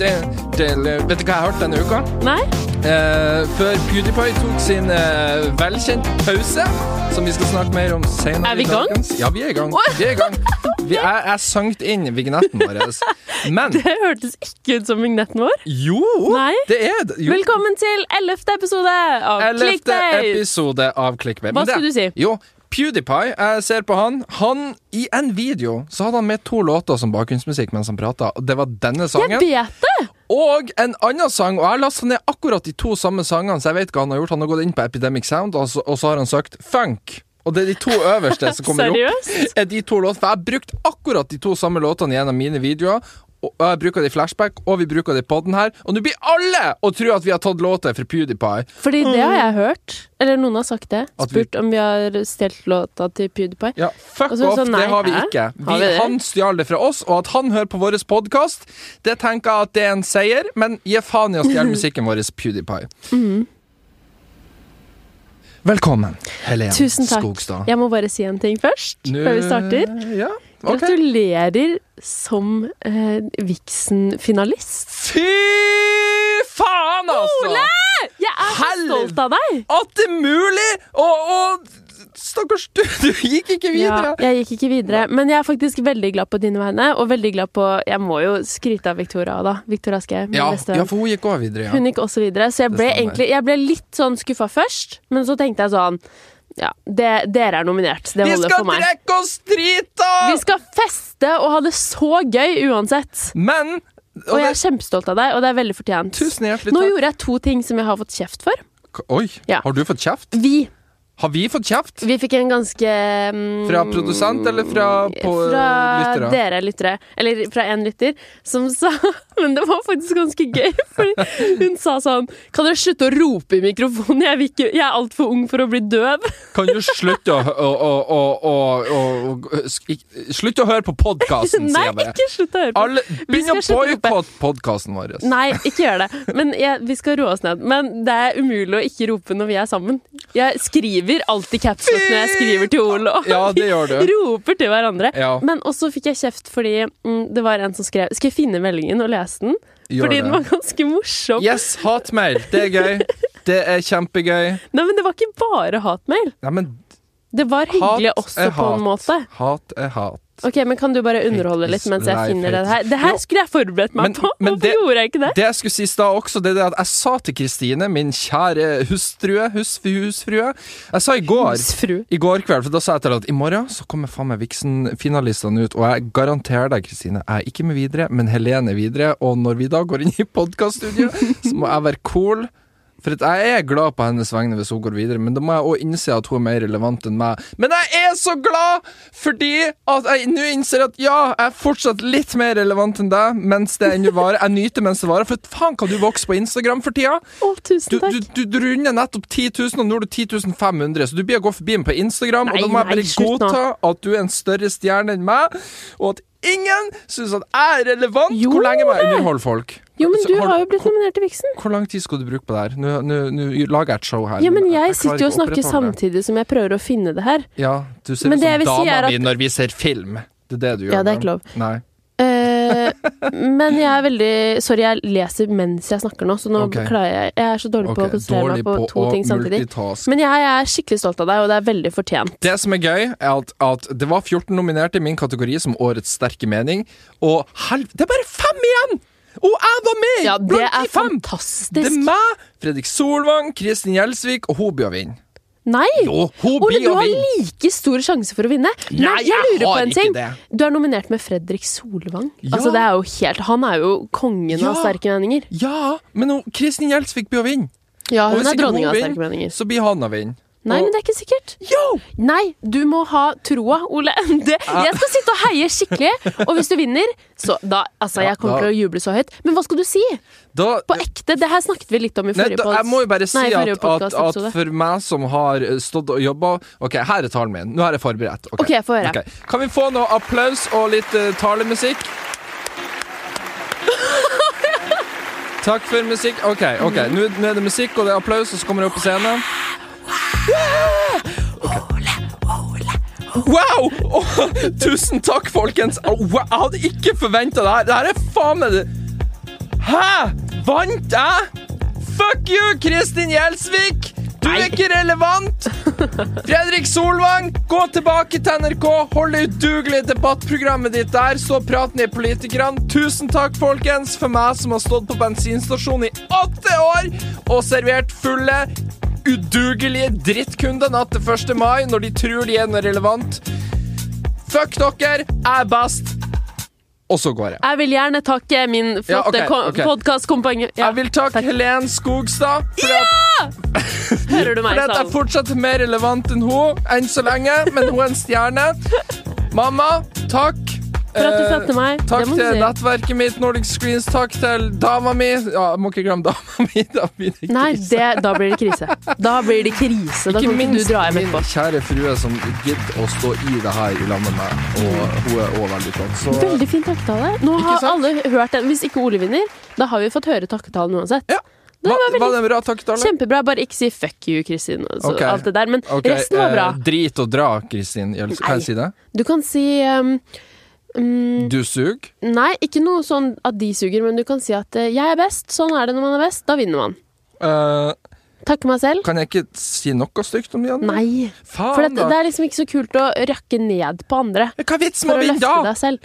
Vet du hva jeg hørte denne uka? Nei? Eh, før PewDiePie tok sin eh, velkjent pause, som vi skal snakke mer om senere. Er vi i i gang? dagens- Ja, vi er i gang. Vi er i gang. Vi er, jeg sankt inn vignetten vår. Men Det hørtes ikke ut som vignetten vår. jo, Nei. det er det. Jo, Velkommen til 11. episode av 11. Clickbait! episode av Clickbait. Hva Men det- skulle du si? Jo, PewDiePie, jeg ser på han. Han, I en video så hadde han med to låter som bakgrunnsmusikk mens han prata. Det var denne sangen. Jeg vet det! Og en annen sang, og jeg har lastet ned akkurat de to samme sangene, så jeg vet hva han har gjort. Han har gått inn på Epidemic Sound, og så, og så har han søkt funk. Og det er de to øverste som kommer opp. Seriøst? Er de to låtene, For jeg har brukt akkurat de to samme låtene gjennom mine videoer. Og og jeg bruker det i flashback, og vi bruker det i podden her. Og nå blir alle å tro at vi har tatt låter fra PewDiePie. Fordi det har jeg hørt. Eller noen har sagt det. Mm. At vi- Spurt om vi har stjålet låta til PewDiePie. Ja, fuck Og så er det off, sånn, nei, det har vi hæ? ikke. Vi, Har vi det? han stjal det fra oss, og at han hører på vår podkast, det tenker jeg at det er en seier, men gi faen i å stjele musikken vår, PewDiePie. Mhm. Velkommen, Helen Tusen takk. Skogstad. Jeg må bare si en ting først, før vi starter. Ja, ok. Gratulerer som eh, Vixen-finalist. Fy faen, altså! Ole! Jeg er så Helv- stolt av deg! At det er mulig! Og, og stakkars du, du gikk ikke videre. Ja, jeg gikk ikke videre, men jeg er faktisk veldig glad på dine vegne. Og veldig glad på Jeg må jo skryte av Victoria, da. Victoria Skei, min Ja, beste ja, venn. for hun gikk også videre, ja. Hun gikk også videre, så jeg Det ble, stemmer. egentlig, jeg ble litt sånn skuffa først. Men så tenkte jeg sånn Ja, det, dere er nominert. Det Vi holder skal for meg. drikke oss drita! Vi skal feste og ha det så gøy uansett. Men Og det- jeg er kjempestolt av deg, og det er veldig fortjent. Tusen hjertelig Nå takk. gjorde jeg to ting som jeg har fått kjeft for. K- Oi, Ja. har du fått kjeft? Vi. Har vi fått kjeft? Vi fikk en ganske mm, Fra produsent eller fra, på, eh, fra lyttere? dere lyttere, eller fra en lytter, som sa Men det var faktisk ganske gøy, fordi hun sa sånn Kan dere slutte å rope i mikrofonen? Jeg, vil ikke, jeg er altfor ung for å bli døv. Kan du slutte å, å, å, å, å, å, å sk- ikk- Slutte å høre på podkasten, Nei, sier jeg bare. ikke slutt å høre på. Alle, begynn å skal slutte å rope. boikotte podkasten vår. Nei, ikke gjør det. Men jeg, vi skal roe oss ned. Men det er umulig å ikke rope når vi er sammen. Jeg skriver alltid caps lock når jeg skriver til Ole. og Ja, det gjør vi du. Roper til hverandre. Ja. Men også fikk jeg kjeft fordi mm, det var en som skrev Skal jeg finne meldingen og lese den? Gjør fordi det. den var ganske morsom. Yes, hatmail. Det er gøy. Det er kjempegøy. Nei, men det var ikke bare hatmail. Nei, men Det var hyggelig Hat også er på en hat. måte. hat er hat. Ok, men Kan du bare underholde Hate litt is mens jeg life, finner det hate her? is- Det her Jo. skulle jeg forberedt meg Men- på! men Hvorfor det- gjorde jeg ikke det? Det jeg skulle si i stad også, det er det at jeg sa til Kristine, min kjære hustrue, husfru, husfrue Jeg sa i går Husfru. I går kveld, for da sa jeg til deg at i morgen så kommer faen meg Vixen-finalistene ut, og jeg garanterer deg, Kristine, jeg er ikke med videre, men Helene er videre, og når vi da går inn i podkaststudio, så må jeg være cool. For at jeg er glad på hennes vegne hvis hun går videre, men da må jeg òg innse at hun er mer relevant enn meg. Men jeg er så glad fordi at jeg nå innser at ja, jeg er fortsatt litt mer relevant enn deg mens det ennå varer. Jeg nyter mens det varer, for faen kan du vokse på Instagram for tida? Å, tusen Du, takk. du, du, du runder nettopp 10 000, og nå er du 10 500, så du blir å gå forbi meg på Instagram, Nei, og da må jeg nei, bare slutt nå. godta at du er en større stjerne enn meg, og at ingen syns at jeg er relevant! Jo, Hvor lenge må jeg underholde folk? jo, men Så du har jo blitt hvor, nominert til Vixen. hvor lang tid skal du bruke på det her? Nå, nå, nå lager jeg et show her. Ja, men jeg klarer sitter jo og ikke å snakker opprettholde det. samtidig som jeg prøver å finne det her. Ja, du ser Men ut det jeg som vil si dama er at- mi når vi ser film. Det er det du gjør. Ja, det men- er ikke lov. Nei. Eh, men jeg er veldig Sorry, jeg leser mens jeg snakker nå, så nå Ok. klarer jeg Jeg er så dårlig på å Ok, konsentrere meg på, to ting samtidig. multitaske. Men jeg, er skikkelig stolt av deg, og det er veldig fortjent. Det som er gøy, er at, at det var 14 nominerte i min kategori som Årets sterke mening, og helv... Det er bare fem igjen! Og jeg var med! Ja, det blant de er fem! Det er fantastisk. meg, Fredrik Solvang, Kristin Gjelsvik, og hun blir å vinne. Nei! Jo, hun Ole, blir du å har vinne! like store sjanse for å vinne. Men Nei, jeg jeg lurer på har en ikke ting. det. Du er nominert med Fredrik Solvang. Ja. Altså, det er jo helt Han er jo kongen Ja. av sterke meninger. Ja, men hun, Kristin Gjelsvik blir å vinne. Ja, Og hun hvis er ikke hun dronninga av vinner, sterke meninger. Så blir han å vinne. Nei, men det er ikke sikkert. Yo! Nei, du må ha troa, Ole. Det, Ah. jeg skal sitte og heie skikkelig. Og hvis du vinner, så da Altså, Ja, jeg kommer da- til å juble så høyt. Men hva skal du si? Da, På ekte? Det her snakket vi litt om i Nei, forrige da, pods- jeg må jo bare si Nei, at, forrige at, at podcastepisode. for meg som har eh, stått og jobba Ok, her er talen min. Nå er jeg forberedt. Ok, Ok, få høre. Ok. Kan vi få noe applaus og litt eh, talemusikk? Takk for musikk. Ok, ok, Mm. nå, nå er det musikk og det er applaus, og så kommer jeg opp på scenen. Ole, Ole, Wow! Åh, tusen takk, folkens. Au, wow, jeg hadde ikke forventa det her. Det her er faen meg det Hæ? Vant jeg? Fuck you, Kristin Gjelsvik! Du er ikke relevant! Fredrik Solvang, gå tilbake til NRK. Hold det udugelige debattprogrammet ditt der. Så prat ned politikerne. Tusen takk, folkens, for meg som har stått på bensinstasjon i åtte år og servert fulle, udugelige drittkunder natt til 1. mai når de tror de er noe relevant. Fuck dere, jeg er best. Og så går jeg. Jeg vil gjerne takke min flotte ok, ko- ok. podcastkompanjong- Ja, Jeg vil takke Helen Skogstad for at hører du meg i Fordi at jeg salen? fortsatt er mer relevant enn hun enn så lenge, men hun er en stjerne. Mamma, takk. eh, For at du fødte meg. Takk det må du til si. nettverket mitt, Nordic Screens. Takk til dama mi. Ja, jeg må ikke glemme dama mi. Da blir det Nei, krise. det, da blir det krise. Da blir det krise. Da Ikke kan ikke du minst dra hjem min etterpå. kjære frue som gidder å stå i det her i lag med meg. Og hun er òg veldig flott. Så Mm. Veldig fin takketale. Nå Ikke har sant? alle hørt den. Hvis ikke Ole vinner, da har vi fått høre takketalen uansett. ja. var Var, veldig- var det en bra takketale? Kjempebra. Bare ikke si 'fuck you', Kristin, og så Ok. alt det der. Men Ok, resten var bra. eh, drit og dra, Kristin. Gjels- Nei. Kan jeg si det? Du kan si um, um, Du suger. Nei, ikke noe sånn at de suger, men du kan si at eh, 'jeg er best', sånn er det når man er best. Da vinner man. Eh, Takke meg selv. kan jeg ikke si noe stygt om de andre? Nei. Faen, For det, da. det er liksom ikke så kult å rakke ned på andre. Men Hva er vitsen med For å å vinne løfte da? deg selv.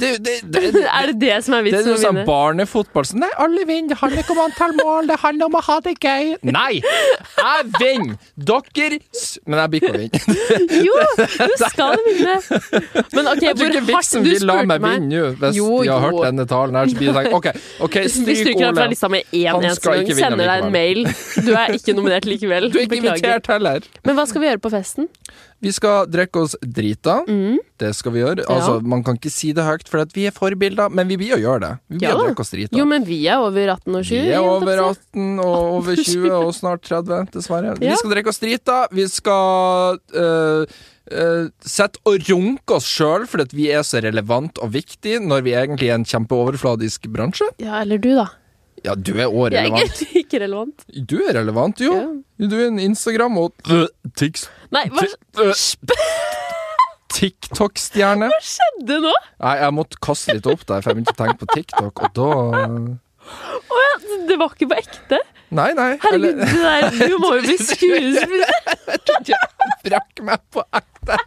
Det, det, det, det, Er det det som er det er vitsen noe med å sånn vinne? barnefotball. Så nei, alle vinner. Det handler ikke om antall mål, det handler om å ha det gøy. Nei! Jeg vinner! Dere s- Men jeg blir ikke å vinne. Jo, du skal vinne! Men OK, Jeg tror hvor ikke hardt vitsen du vil la spurte meg vinne nå, hvis Jo, de har hørt jo. denne talen her. Så blir det sånn OK, ok, Vi stryk stryker deg fra Ole. lista med én Han eneste skal gang. ikke vinne Sender deg en mail. Du er ikke nominert likevel. Du er ikke Beklager. invitert heller. Men hva skal vi gjøre på festen? Vi skal drikke oss drita. Mm. Det skal vi gjøre. Altså, Man kan ikke si det høyt, for at vi er forbilder, men vi blir å gjøre det. Vi blir Ja. å drikke oss drita. Jo, men vi er over 18 og 20. Vi er holdt jeg på å over si. 18 og over 20 og snart 30, dessverre. Vi Ja. skal drikke oss drita. Vi skal øh, øh, sette og runke oss sjøl fordi at vi er så relevant og viktig når vi egentlig er en kjempeoverfladisk bransje. Ja, eller du, da. Ja, du er òg Jeg er relevant. egentlig ikke relevant. Du er relevant, jo. Du er en Instagram- og øh, tiks- Nei, hva ti- øh, TikTok-stjerne. skjedde nå? Nei, jeg måtte kaste litt opp der, for jeg begynte å tenke på TikTok, og da Det var ikke på ekte. Nei, nei. Herregud, eller- det der, du må jo bli skuespiller. Jeg brakk meg på ekte.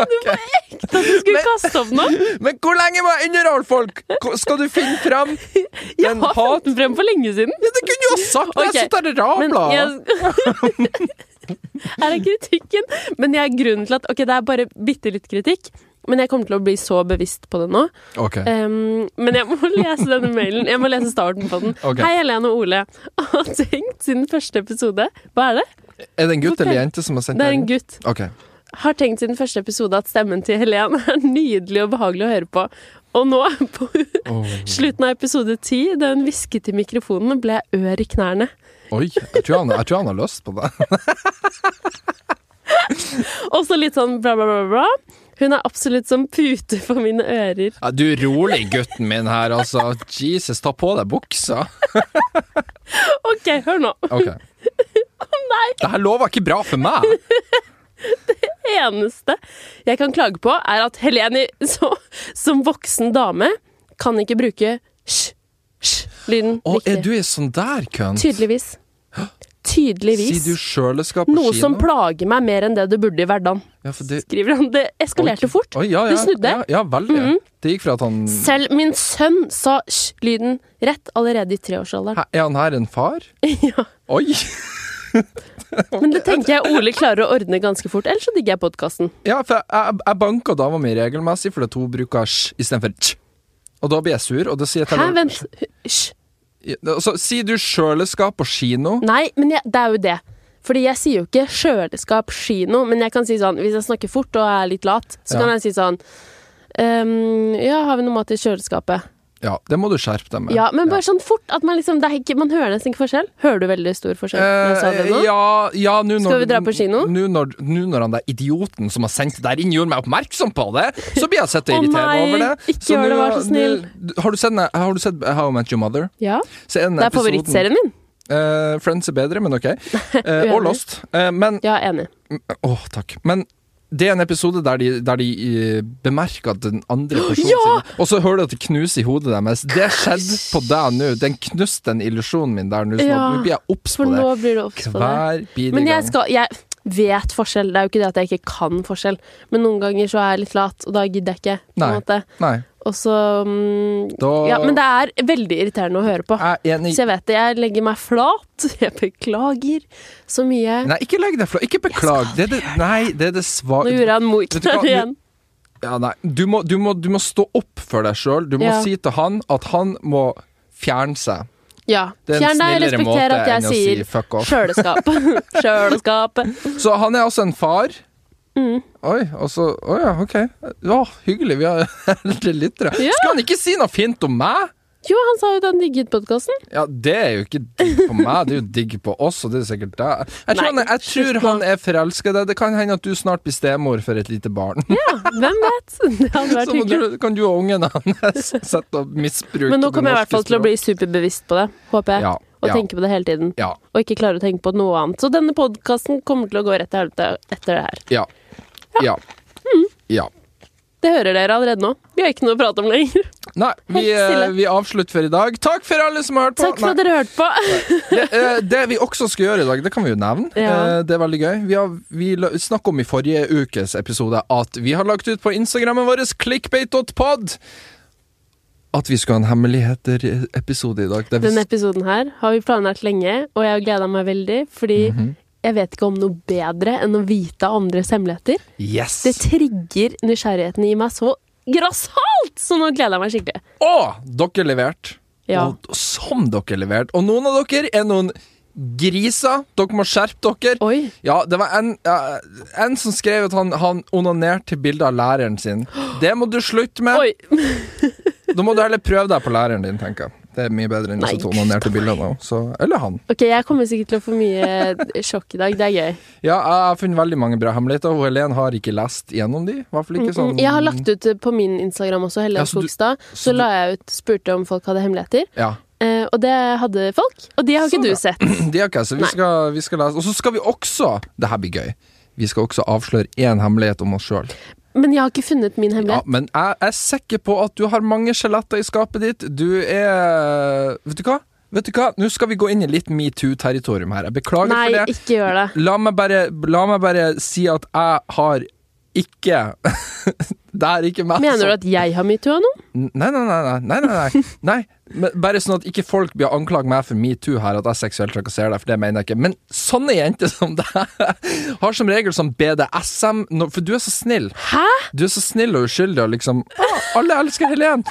At du skulle kaste opp nå. Men hvor lenge må jeg underholde folk? Ko- Skal du finne frem Jeg den har hat... funnet den frem for lenge siden. Ja, det kunne du jo ha sagt! Ok, Jeg sitter her og Men rabler. jeg... Her er kritikken. Men jeg, grunnen til at Ok, det er bare bitte litt kritikk. Men jeg kommer til å bli så bevisst på det nå. Ok. Eh, Em, men jeg må lese denne mailen. Jeg må lese starten på den. Ok. Hei, Helene og Ole. Har tenkt siden første episode Hva er det? Er det en gutt ok. eller jente som har sendt Det er en den? gutt. Ok. Har tenkt siden første episode at stemmen til Helen er nydelig og behagelig å høre på. Og nå, på slutten av episode ti, da hun hvisket i mikrofonen, ble jeg ør i knærne. Oi, jeg tror, han, jeg tror han har lyst på det. Og så litt sånn bla, bla, bla, bla. Hun er absolutt som pute for mine ører. Ja, du, rolig, gutten min her, altså. Jesus, ta på deg buksa. OK, hør nå. Ok. Å nei! Det her lover ikke bra for meg. Eneste jeg kan klage på, er at Helene så, som voksen dame kan ikke bruke sj-sj-lyden Å, er riktig. du en sånn der kønt? Tydeligvis. Sier Tydeligvis. du sjøleskap på Noe kino? som plager meg mer enn det du burde i hverdagen. Ja, for det... Skriver han. Det eskalerte fort. Oi, ja, ja, Det snudde. Mm-hmm. Ja, ja veldig. Det gikk fra at han Selv min sønn sa sj-lyden rett allerede i treårsalderen. Hæ, Er han her en far? Ja. Oi! Men det tenker jeg Ole klarer å ordne ganske fort, ellers så digger jeg podkasten. Ja, for jeg, jeg, jeg banker dama mi regelmessig fordi at hun bruker sj istedenfor tj. Og da blir jeg sur, og da sier jeg til Hæ, henne vent. Hysj. Ja, Så sier du sjøleskap på kino? Nei, men jeg, det er jo det. Fordi jeg sier jo ikke kjøleskap, kino, men jeg kan si sånn Hvis jeg snakker fort og er litt lat, så Ja. kan jeg si sånn ehm, Ja, har vi noe mat i kjøleskapet? Ja, det må du skjerpe deg med. Ja, men bare sånn fort at man liksom det er ikke, Man hører nesten ikke forskjell. Hører du veldig stor forskjell? når jeg sa det Eh, nå? ja, ja nå når, Skal vi dra på kino? Nå når, nå når han der idioten som har sendt det der inn, gjorde meg oppmerksom på det, så blir jeg sett Å irritert nei, over det. ikke gjør det, vær så nå- nå- Har du sett, den- har du sett How I Met Your Mother? Ja. Så er den Det er episoden- favorittserien min. Eh, Friends er bedre, men OK. Eh, og Uenig. Lost. Eh, men Ja, enig. Å, takk. Men det er en episode der de, der de eh, bemerker at den andre personen Ja! sin Og så hører du at det knuser i hodet deres. Det skjedde på deg nå. Den knuste den illusjonen min der nå. Så Ja, nå blir jeg obs For på det. nå blir du obs på det. Hver bidige Men jeg gang. skal Jeg vet forskjell. Det er jo ikke det at jeg ikke kan forskjell, men noen ganger så er jeg litt lat, og da gidder jeg ikke. På en Nei. måte. Nei, Og så mm, da Ja, men det er veldig irriterende å høre på. er jeg enig Så jeg vet det. Jeg legger meg flat. Jeg beklager så mye. Nei, ikke legg deg flat. Ikke beklag. Det er det, nei, det er det Nå svake gjorde han Vet du hva? Moikner Du- igjen. ja, nei. du, må, du, må, du må stå opp for deg sjøl. Du må Ja. si til han at han må fjerne seg. Ja. Det er en Fjern deg, snillere respekter måte at jeg enn å si sier fuck off. kjøleskap. Kjøleskap. Så han er altså en far. Mm. Oi, og så Å ja, OK. Ja, hyggelig. Vi har eldre lyttere. Ja. Skulle han ikke si noe fint om meg? Jo, han sa jo at han digget podkasten. Ja, det er jo ikke digg på meg, det er jo digg på oss, og det er sikkert deg. Jeg tror, Nei, han, er- jeg slutt tror nå. han er forelska i deg. Det kan hende at du snart blir stemor for et lite barn. Ja, hvem vet? Det hadde Så vært må hyggelig. du, kan du og ungen hans sette og misbruke Men nå kommer jeg i det hvert fall norske til å bli superbevisst på det, håper jeg. Ja, Og ja. tenke på det hele tiden. språk. Ja. Og ikke klare å tenke på noe annet. Så denne podkasten kommer til å gå rett til helvete etter det her. Ja. Ja. Mm. ja. Det hører dere allerede nå. Vi har ikke noe å prate om lenger. Nei, vi, Helt stille. eh, vi avslutter for i dag. Takk for alle som har hørt på! Takk Nei. for at dere hørte på. det, eh, det vi også skal gjøre i dag, det kan vi jo nevne. Ja. Eh, Det er veldig gøy. Vi, har, vi la- snakket om i forrige ukes episode at vi har lagt ut på Instagrammen vår clickbait.pod at vi skal ha en hemmeligheter-episode i dag. Det er Denne visst- episoden her har vi planlagt lenge, og jeg har gleda meg veldig, fordi Mhm. jeg vet ikke om noe bedre enn å vite andres hemmeligheter. yes! Det trigger nysgjerrigheten i meg så grassat! Så nå gleder jeg meg skikkelig. Og dere leverte! Ja. Og som dere leverte! Og noen av dere er noen griser. Dere må skjerpe dere. Oi. Ja, det var en, ja, en som skrev at han, han onanerte til bildet av læreren sin. Det må du slutte med! Oi. Da må du heller prøve deg på læreren din, tenker jeg. Det er mye bedre enn å Nei, sitte og onanere til bilder nå. Så, eller han. Ok, jeg kommer sikkert til å få mye sjokk i dag. Det er gøy. Ja, jeg har funnet veldig mange bra hemmeligheter, og Helen har ikke lest gjennom de. I hvert fall ikke sånn Mm, Jeg har lagt ut eh, på min Instagram også, Helene Ja, så du- Skogstad. så Så du- la jeg ut, spurte om folk hadde hemmeligheter, Ja. eh, og det hadde folk. Og de har Så ikke bra. du sett. De har ikke, så vi Nei. skal, vi skal lese. Og så skal vi også Det her blir gøy. Vi skal også avsløre én hemmelighet om oss sjøl. Men jeg har ikke funnet min Ja, hemmelighet. men jeg er sikker på at du har mange skjeletter i skapet ditt. Du er Vet du hva? Vet du hva? Nå skal vi gå inn i litt metoo-territorium her. Jeg beklager Nei, for det. ikke gjør det. La meg bare, la meg bare si at jeg har ikke Det er ikke meg Mener du som- at jeg har metoo nå? Nei, nei, nei. nei, nei, nei, nei. nei. Men bare sånn at ikke folk blir anklaget meg for metoo her, at jeg seksuelt trakasserer deg, for det mener jeg ikke. Men sånne jenter som deg har som regel sånn BDSM nå- For du er så snill. Hæ? Du er så snill og uskyldig og liksom ah, Alle elsker Helen!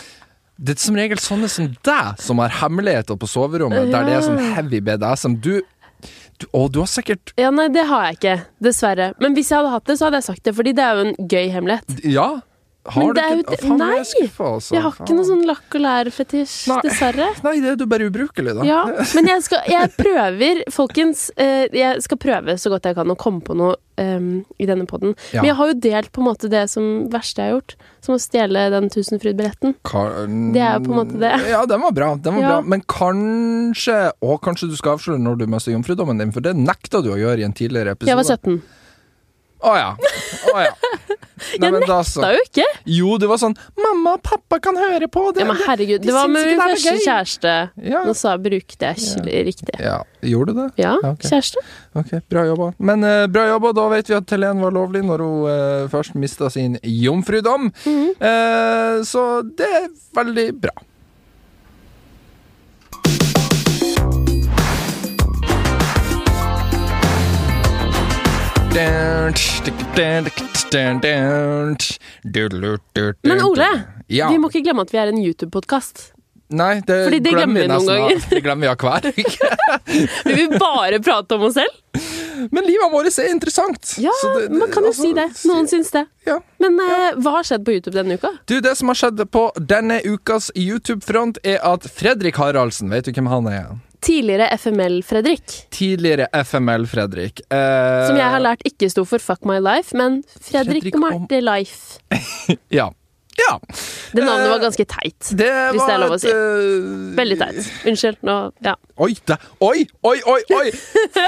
Det er som regel sånne som deg som har hemmeligheter på soverommet, der det er sånn heavy BDSM. Du, du Å, du har sikkert Ja, nei, det har jeg ikke. Dessverre. Men hvis jeg hadde hatt det, så hadde jeg sagt det, fordi det er jo en gøy hemmelighet. Ja. Har Men du det er ikke jo- Å, Faen, ble jeg nei. skuffa, altså. Jeg har ikke noen sånn lakk og lær-fetisj, Nei. dessverre. Nei, det er du bare ubrukelig, da. Ja, men jeg, skal, jeg prøver, folkens. eh, Jeg skal prøve så godt jeg kan å komme på noe em, i denne poden. Ja. Men jeg har jo delt på en måte det som verste jeg har gjort, som å stjele den Tusenfryd-billetten. Kan- Det er jo på en måte det. Ja, den var bra. Den var Ja. bra. Men kanskje Å, kanskje du skal avsløre når du mister jomfrudommen din, for det nekta du å gjøre i en tidligere episode. Jeg var 17. Å ja. Å ja. Nei, men da så. Det er jo ikke! Jo, det var sånn 'Mamma og pappa kan høre på det'. Ja, men herregud, de det var syns med ikke min det er første gøy. kjæreste. Ja. Nå sa jeg brukte jeg kjøl- riktig. ja. Gjorde du det? Ja, Ja, ok. kjæreste. Ok, bra jobba. Men eh, bra jobba, da vet vi at Helen var lovlig når hun eh, først mista sin jomfrudom. Mhm. Eh, så det er veldig bra. Men Men Ole, ja. vi må ikke glemme at vi er en YouTube-podkast. Nei, det, Fordi det glemmer glemmer vi vi noen nesten av- ganger. Det glemmer vi av hver uke. Vi vil bare prate om oss selv. Men livet vårt er interessant. Ja, Så det- det- man kan jo altså, si det. Noen syns det. ja. Men eh, hva har skjedd på YouTube denne uka? Du, Det som har skjedd på denne ukas YouTube-front, er at Fredrik Haraldsen Vet du hvem han er? Tidligere FML-Fredrik. Tidligere FML-Fredrik. Eh, Som jeg har lært ikke sto for Fuck My Life, men Fredrik Fredrik, Fredrik Marte Life. Ja. ja. Det navnet var ganske teit. Det Hvis det er lov å et, si. eh, Veldig teit. Unnskyld. Nå, ja. Oi, da, oi, oi, oi! oi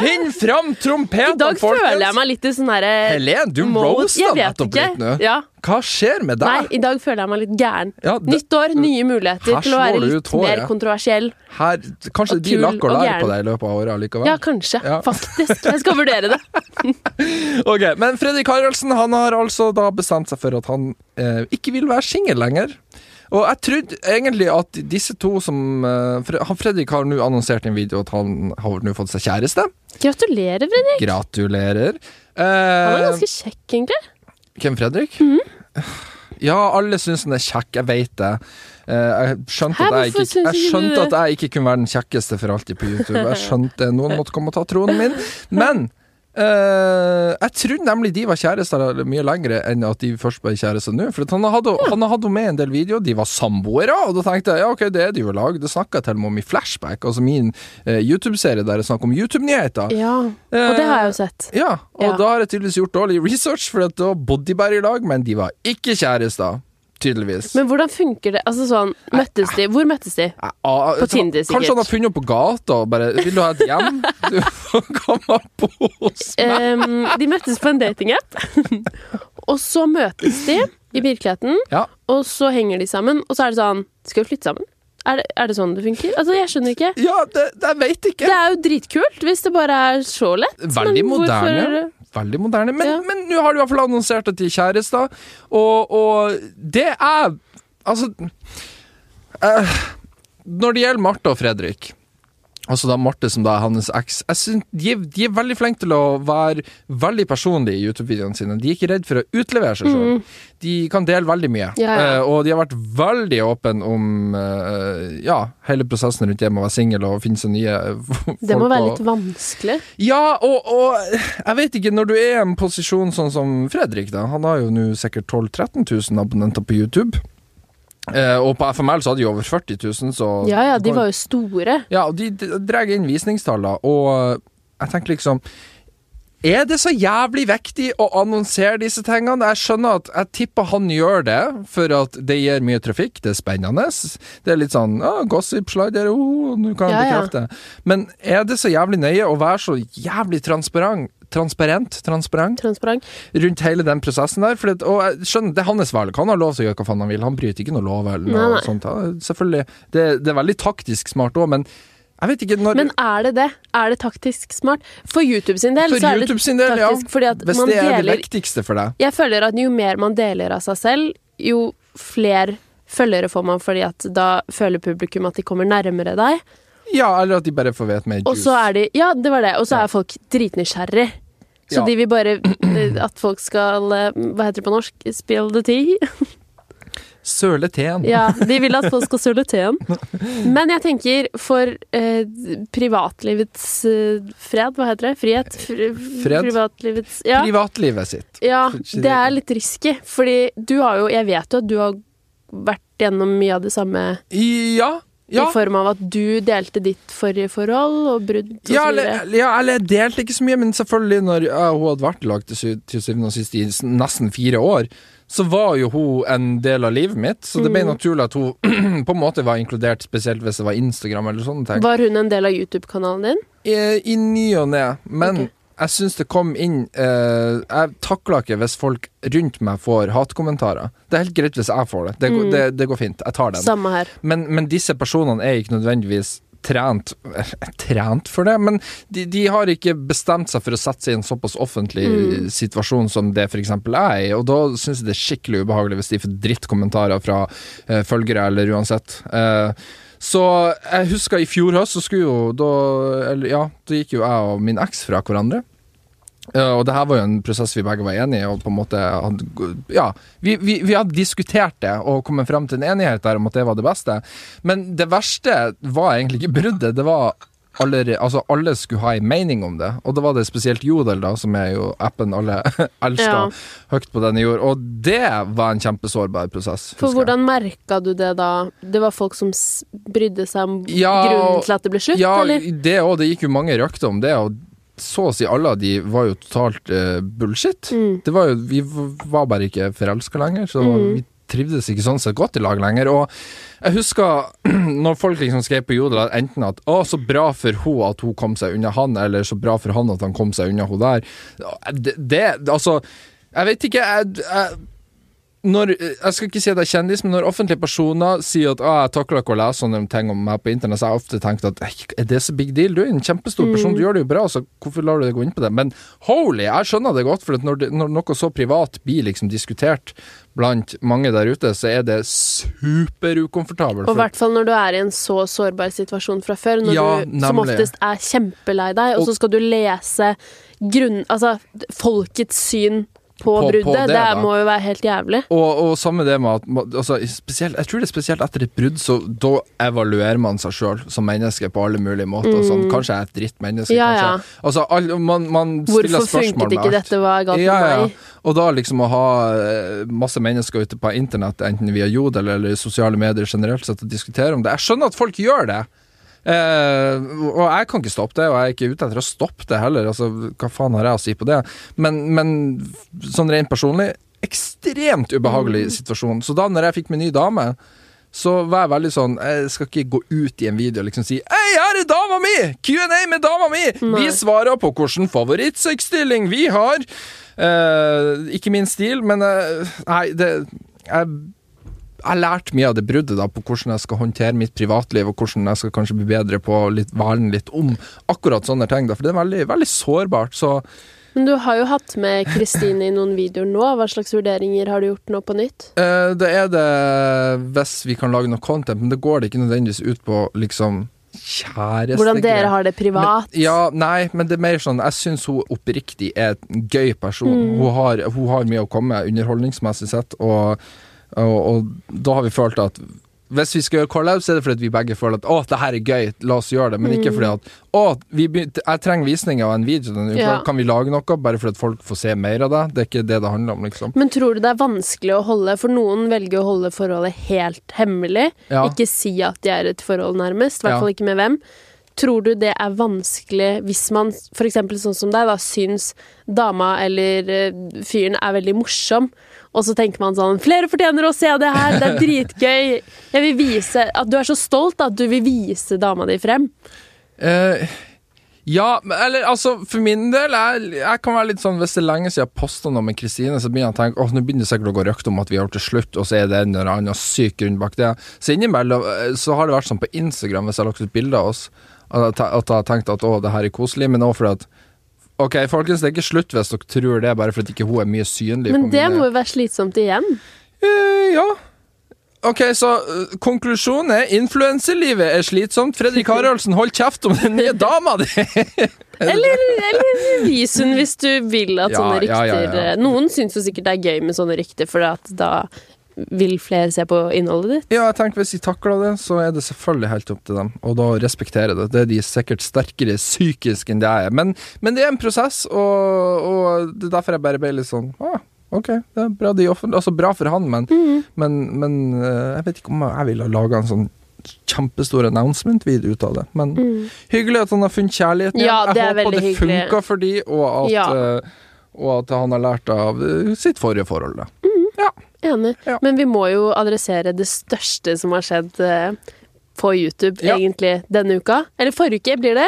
Finn fram I trompeten, dag føler jeg meg litt i sånn herre Helen, du mode. roasta Jeg vet nettopp ikke. litt nå. Ja. Hva skjer med Nei, deg? i dag føler jeg meg litt gæren. Ja, det- Nytt år, nye muligheter Mm. Her til å være slår du litt ut håret. mer kontroversiell. Her, kanskje Og de kul lakker og lær gæren. på deg i løpet av året allikevel. Ja, kanskje. Ja. Faktisk. Jeg skal vurdere det. Ok, Men Fredrik Haraldsen han har altså da bestemt seg for at han eh, ikke vil være singel lenger. Og jeg trodde egentlig at disse to som eh, Fre- han Fredrik har nå annonsert i en video at han har nå fått seg kjæreste. Gratulerer, Fredrik. Gratulerer. Eh, Han er ganske kjekk, egentlig. Hvem, Fredrik? Mhm. Ja, alle syns han er kjekk, jeg veit det. Eh, Jeg skjønte, Hæ, at jeg, hvorfor ikke, syns jeg ikke du skjønte det? at jeg ikke kunne være den kjekkeste for alltid på YouTube. Jeg skjønte Noen måtte komme og ta tronen min. Men eh, jeg trodde nemlig de var kjærester mye lengre enn at de først ble kjærester nå. For at han hadde han hadde jo med i en del videoer, de var samboere, og da tenkte jeg ja, ok, det er de jo i lag. Det snakka jeg til og med om i Flashback, altså min eh, YouTube-serie der det er snakk om YouTube-nyheter. Ja, og det har jeg jo Eh, sett. Ja, og Ja. da har jeg tydeligvis gjort dårlig research, for at da bodde de bare i lag, men de var ikke kjærester. Tydeligvis. Men hvordan funker det? Altså sånn, møttes de? Hvor møttes de? Ja, ah, på Tinder, sikkert. Kanskje han har funnet opp på gata og bare 'Vil du ha et hjem?' Du får komme på hos meg. Ehm, de møttes på en datingapp, og så møtes de i virkeligheten, Ja. og så henger de sammen, og så er det sånn Skal vi flytte sammen? Er det, er det sånn det funker? Altså, jeg skjønner ikke. Ja, det, det jeg veit ikke. Det er jo dritkult hvis det bare er så lett. Veldig men hvorfor- moderne. Veldig moderne. Men Ja. men nå har de i hvert fall annonsert at de er kjærester, og, og det er Altså eh, Når det gjelder Marte og Fredrik Altså da Marte som da er hans eks Jeg synes de, er- de er veldig flinke til å være veldig personlige i YouTube-videoene sine. De er ikke redd for å utlevere seg selv De kan dele veldig mye. Mm. Ja, ja. Eh, og de har vært veldig åpne om eh, ja, hele prosessen rundt det med å være singel og finne seg nye eh, folk. Det må være og- litt vanskelig. ja, og, og jeg vet ikke, når du er i en posisjon sånn som Fredrik, da Han har jo nå sikkert 12 000-13 000 abonnenter på YouTube. Eh, og på FML så hadde de over 40 000, så Ja ja, de var jo store. Ja, og de drar inn visningstallene, og jeg tenker liksom er det så jævlig viktig å annonsere disse tingene? Jeg skjønner at jeg tipper han gjør det, for at det gir mye trafikk, det er spennende. Det er litt sånn ah, gossip slider, oh, nå kan jeg Ja, ja. bekrefte. Men er det så jævlig nøye å være så jævlig transparent, transparent, transparent Transparent. rundt hele den prosessen der? For det, og jeg skjønner, det er hans valg, han har lov til å gjøre hva faen han vil, han bryter ikke noe lov eller noe Nei, nei. sånt. Ja, Selvfølgelig. Det, det er veldig taktisk smart òg, men jeg vet ikke når Men er det det? Er det taktisk smart? For YouTube sin del For så er det YouTube sin del, ja. taktisk, fordi at Hvis man det er det deler viktigste for deg. Jeg føler at jo mer man deler av seg selv, jo flere følgere får man, fordi at da føler publikum at de kommer nærmere deg. Ja, eller at de bare får vite mer Og så er de Ja, det var det. Og så er folk dritnysgjerrig. Så Ja. de vil bare eh, at folk skal eh, Hva heter det på norsk? Spill the tea? Søle teen. Ja, de vil at folk skal søle teen. Men jeg tenker for eh, privatlivets eh, fred, hva heter det? Frihet? Fri- Fred. Privatlivets Ja. Privatlivet sitt. Ja, Kanskje det det- er litt risky, fordi du har jo Jeg vet jo at du har vært gjennom mye av det samme Ja. Ja. i form av at du delte ditt forrige forhold og brudd og Ja så eller, videre. ja, eller jeg delte ikke så mye, men selvfølgelig, når ja, hun hadde vært i lag til sy- til syvende og sist i s- nesten fire år, så var jo hun en del av livet mitt, så det Mm. ble naturlig at hun på en måte var inkludert, spesielt hvis det var Instagram eller sånne ting. Var hun en del av YouTube-kanalen din? I, i ny og ne, men Ok. jeg syns det kom inn eh, Jeg takler ikke hvis folk rundt meg får hatkommentarer. Det er helt greit hvis jeg får det. Det, Mm. går- det, det går fint. Jeg tar den. Samme her. Men, men disse personene er ikke nødvendigvis trent Trent for det, men de, de har ikke bestemt seg for å sette seg i en såpass offentlig situasjon som det f.eks. jeg er i, og da syns jeg det er skikkelig ubehagelig hvis de får drittkommentarer fra eh, følgere eller uansett. Eh, så jeg husker i fjor høst, så skulle jo da Eller ja, da gikk jo jeg og min eks fra hverandre. Eh, og det her var jo en prosess vi begge var enige i, og på en måte hadde Ja, vi, vi, vi hadde diskutert det og kommet frem til en enighet der om at det var det beste. Men det verste var egentlig ikke bruddet, det var alle, altså alle skulle ha en mening om det, og da var det spesielt Jodel, da, som er jo appen alle elsker Ja. høyt på denne jord, og det var en kjempesårbar prosess. For husker jeg. hvordan merka du det da? Det var folk som s- brydde seg om Ja, grunnen til at det ble slutt, Ja, eller? det òg. Det gikk jo mange røkter om det. og så å si alle av de var Mm. jo totalt eh, bullshit. Det var jo, vi v- var bare ikke forelska lenger, så vi trivdes ikke sånn sett godt i lag lenger. Og jeg husker når folk liksom skrev på Jodel at enten at 'Å, så bra for hun at hun kom seg unna han', eller 'så bra for han at han kom seg unna hun der'. Det, det altså Jeg vet ikke. jeg, jeg når, eh, jeg skal ikke si at jeg er kjendis, men når offentlige personer sier at ah, 'jeg takler ikke å lese sånne ting om meg på internett', så har jeg ofte tenkt at er det så big deal? Du er en kjempestor Mm. person, du gjør det jo bra, så hvorfor lar du deg gå inn på det? Men holy, jeg skjønner det godt, for at når, det, når noe så privat blir liksom diskutert blant mange der ute, så er det superukomfortabelt. Og i hvert fall når du er i en så sårbar situasjon fra før, når Ja, du som nemlig. oftest er kjempelei deg, og, Og- så skal du lese grunn... Altså, folkets syn på, På- på bruddet. det, det da. må jo være helt jævlig. Og, og samme det med at man- altså, spesielt, Jeg tror det er spesielt etter et brudd, så da evaluerer man seg sjøl som menneske på alle mulige måter. Sånn, kanskje jeg er et drittmenneske, Mm. Ja, kanskje. ja. Altså, all, man, man stiller Hvorfor spørsmål funket med ikke alt. dette? Hva er galt Ja, med ja. meg? Og da liksom å ha eh, masse mennesker ute på internett, enten via Jodel eller sosiale medier generelt sett, og diskutere om det. Jeg skjønner at folk gjør det. Eh, og jeg kan ikke stoppe det, og jeg er ikke ute etter å stoppe det heller. Altså, hva faen har jeg å si på det? Men, men sånn rent personlig, ekstremt ubehagelig situasjon. Så da når jeg fikk min nye dame, så var jeg veldig sånn Jeg skal ikke gå ut i en video og liksom si Hei, her er dama mi! Q&A med dama mi! Nei. Vi svarer på hvilken favorittsexstilling vi har. Eh, ikke min stil, men eh, Nei, det Jeg jeg lærte mye av det bruddet da, på hvordan jeg skal håndtere mitt privatliv, og hvordan jeg skal kanskje bli bedre på å litt- verne litt om akkurat sånne ting. da, For det er veldig, veldig sårbart. Så Men du har jo hatt med Kristine i noen videoer nå. Hva slags vurderinger har du gjort nå på nytt? Eh, det er det hvis vi kan lage noe content, men det går det ikke nødvendigvis ut på liksom kjæreste Hvordan dere har det privat? Men, ja, nei, men det er mer sånn Jeg syns hun oppriktig er en gøy person. Mm. Hun, har, hun har mye å komme med underholdningsmessig sett, og, og, og da har vi følt at hvis vi skal gjøre collab, så er det fordi at vi begge føler at 'Å, det her er gøy, la oss gjøre det', men Mm. ikke fordi at 'Å, vi begynte, jeg trenger visninger av en video denne uka, Ja. kan vi lage noe?' Bare fordi at folk får se mer av det. Det er ikke det det handler om, liksom. Men tror du det er vanskelig å holde For noen velger å holde forholdet helt hemmelig. Ja. Ikke si at de er i et forhold, nærmest. I hvert Ja. fall ikke med hvem. Tror du det er vanskelig hvis man, f.eks. sånn som deg, da syns dama eller eh, fyren er veldig morsom, og så tenker man sånn 'Flere fortjener å se det her! Det er dritgøy!' Jeg vil vise At du er så stolt at du vil vise dama di frem. Eh, ja, men- eller altså, for min del jeg, jeg kan være litt sånn Hvis det er lenge siden jeg posta noe med Kristine, så begynner jeg å tenke Åh, nå begynner det sikkert å gå røkt om at vi har gjort det slutt, og så er det en eller annen syk grunn bak det. Så innimellom eh, så har det vært sånn på Instagram, hvis jeg har lagt ut bilder av oss, at jeg, te- at jeg har tenkt at å, det her er koselig, men òg fordi at Ok, folkens, det er ikke slutt hvis dere tror det, bare fordi ikke hun er mye synlig. Men på det mine- må jo være slitsomt igjen. Eh, ja. Ok, så eh, konklusjonen er influenselivet er slitsomt. Fredrik Haraldsen, hold kjeft om den nye dama di! Eller, eller vis hun hvis du vil at Eh, Ja, sånne ja, rykter eh, ja, ja. Noen syns jo sikkert det er gøy med sånne rykter, for at da vil flere se på innholdet ditt. Ja, jeg tenker Hvis de takler det, så er det selvfølgelig helt opp til dem. Og da respekterer jeg det. Det er de sikkert sterkere psykisk enn det jeg er. Men, men det er en prosess, og, og det er derfor jeg bare ble litt sånn ah, OK, det er bra, de offentlig, altså bra for han, men, Mm. men, men eh, jeg vet ikke om jeg ville ha laga en sånn kjempestor announcement-video ut av det. Men hyggelig at han har funnet kjærligheten. Mm. Ja, igjen. det er jeg håper veldig det hyggelig. funka for de, og at, Ja. eh, og at han har lært av eh, sitt forrige forhold. Da. Mm. Enig. Ja. Men vi må jo adressere det største som har skjedd eh, på YouTube, Ja. egentlig, denne uka. Eller forrige uke, blir det.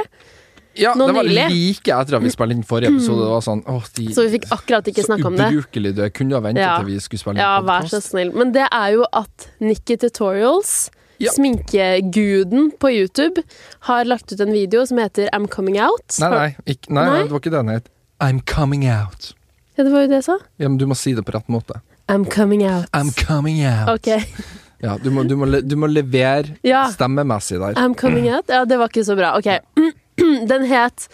Ja, Nå det var nylig. Mm. like etter at vi spilte inn forrige episode. Det var sånn, åh, de, Så vi fikk akkurat ikke snakke om det. Så ubrukelig du er. Kunne ha ventet Ja. til vi skulle spille Ja, inn vær så podkast. snill. Men det er jo at Nikki Tutorials, Ja. sminkeguden på YouTube, har lagt ut en video som heter I'm Coming Out. Nei, nei, ikk- nei, nei, Nei? det var ikke det den het. I'm coming out. Ja, det var jo det jeg sa. Ja, men du må si det på rett måte. I'm coming out. I'm coming out. Ok. Ja, du må, du må, le, du må levere Ja. stemmemessig der. I'm coming out? Ja, det var ikke så bra. Ok. Den het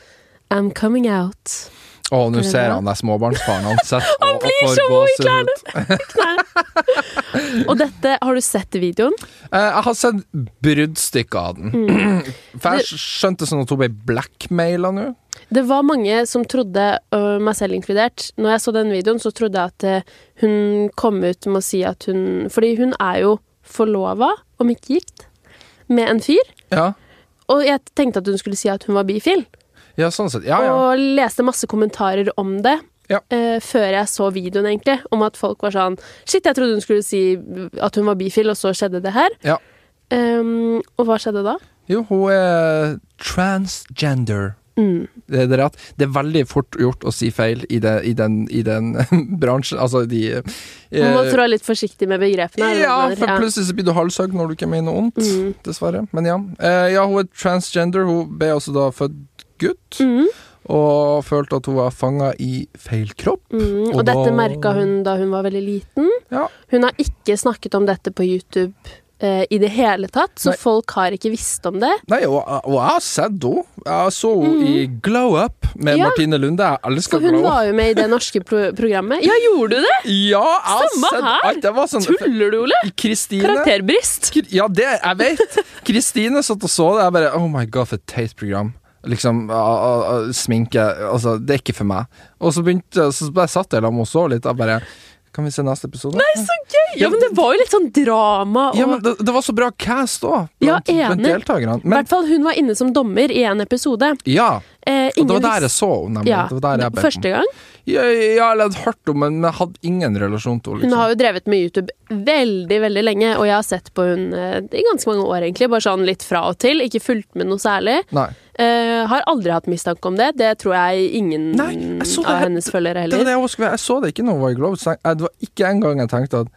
I'm coming out. Å, nå det ser bra? han der småbarnsfaren han sitter og- og blir får så vond i gåsehud. Og dette Har du sett videoen? Eh, jeg har sett bruddstykker av den. Mm. For jeg skjønte sånn at hun ble blackmaila nå. Det var mange som trodde, øh, meg selv inkludert Når jeg så den videoen, så trodde jeg at eh, hun kom ut med å si at hun Fordi hun er jo forlova, om ikke gift, med en fyr. Ja. Og jeg tenkte at hun skulle si at hun var bifil, ja, sånn sett. Ja, ja. og leste masse kommentarer om det. Ja. eh, før jeg så videoen, egentlig, om at folk var sånn Shit, jeg trodde hun skulle si at hun var bifil, og så skjedde det her. Ja. Ehm, og hva skjedde da? Jo, hun er transgender. Mm. Det, det, er rett. det er veldig fort gjort å si feil i, det, i den, i den bransjen. Altså de eh, Man må trå litt forsiktig med begrepene. er det Ja, det for er? plutselig så blir du halshøg når du ikke mener ondt, Mm. dessverre. Men ja. Eh, ja, hun er transgender. Hun ble også da født gutt, Mm, og følte at hun var fanga i feil kropp. mm. Og Og da- dette merka hun da hun var veldig liten. Ja. Hun har ikke snakket om dette på YouTube eh, i det hele tatt, så Nei. folk har ikke visst om det. Nei, og, og jeg har sett henne. Jeg så henne i Glow Up med Mm. Ja. Martine Lunde. Jeg elsker For hun Glow Up. var jo med i det norske pro programmet. Ja, gjorde du det?! Ja, jeg har Samme sett her. alt. Det var sånn Tuller du, Ole? Kristine Karakterbrist. Kr- Ja, det jeg vet. Kristine satt og så det. Jeg bare Oh my god, for et teit program. Liksom, ah, ah, ah, sminke Altså, det er ikke for meg. Og så begynte Så bare satt jeg sammen og så litt. Jeg bare Kan vi se neste episode? Nei, så Ja, men det var jo litt sånn drama og ja, men det, det var så bra cast òg, Ja, blant, blant enig. deltakerne. I Men hvert fall hun var inne som dommer i en episode. ja. Eh, Og det ingen var der jeg visste- så henne, nemlig. ja, Det var der jeg ble. Første gang. Ja, ja, eller jeg hadde hørt om henne, men jeg hadde ingen relasjon til henne. Hun Liksom. har jo drevet med YouTube veldig veldig lenge, og jeg har sett på hun eh, i ganske mange år, egentlig. Bare sånn litt fra og til. Ikke fulgt med noe særlig. liksom. Nei. Eh, har aldri hatt mistanke om det. Det tror jeg ingen Nei, jeg så det av her- hennes Det følgere var heller. det jeg, også, skulle- jeg så det ikke når hun var i Globe. så jeg- Det var ikke engang jeg tenkte at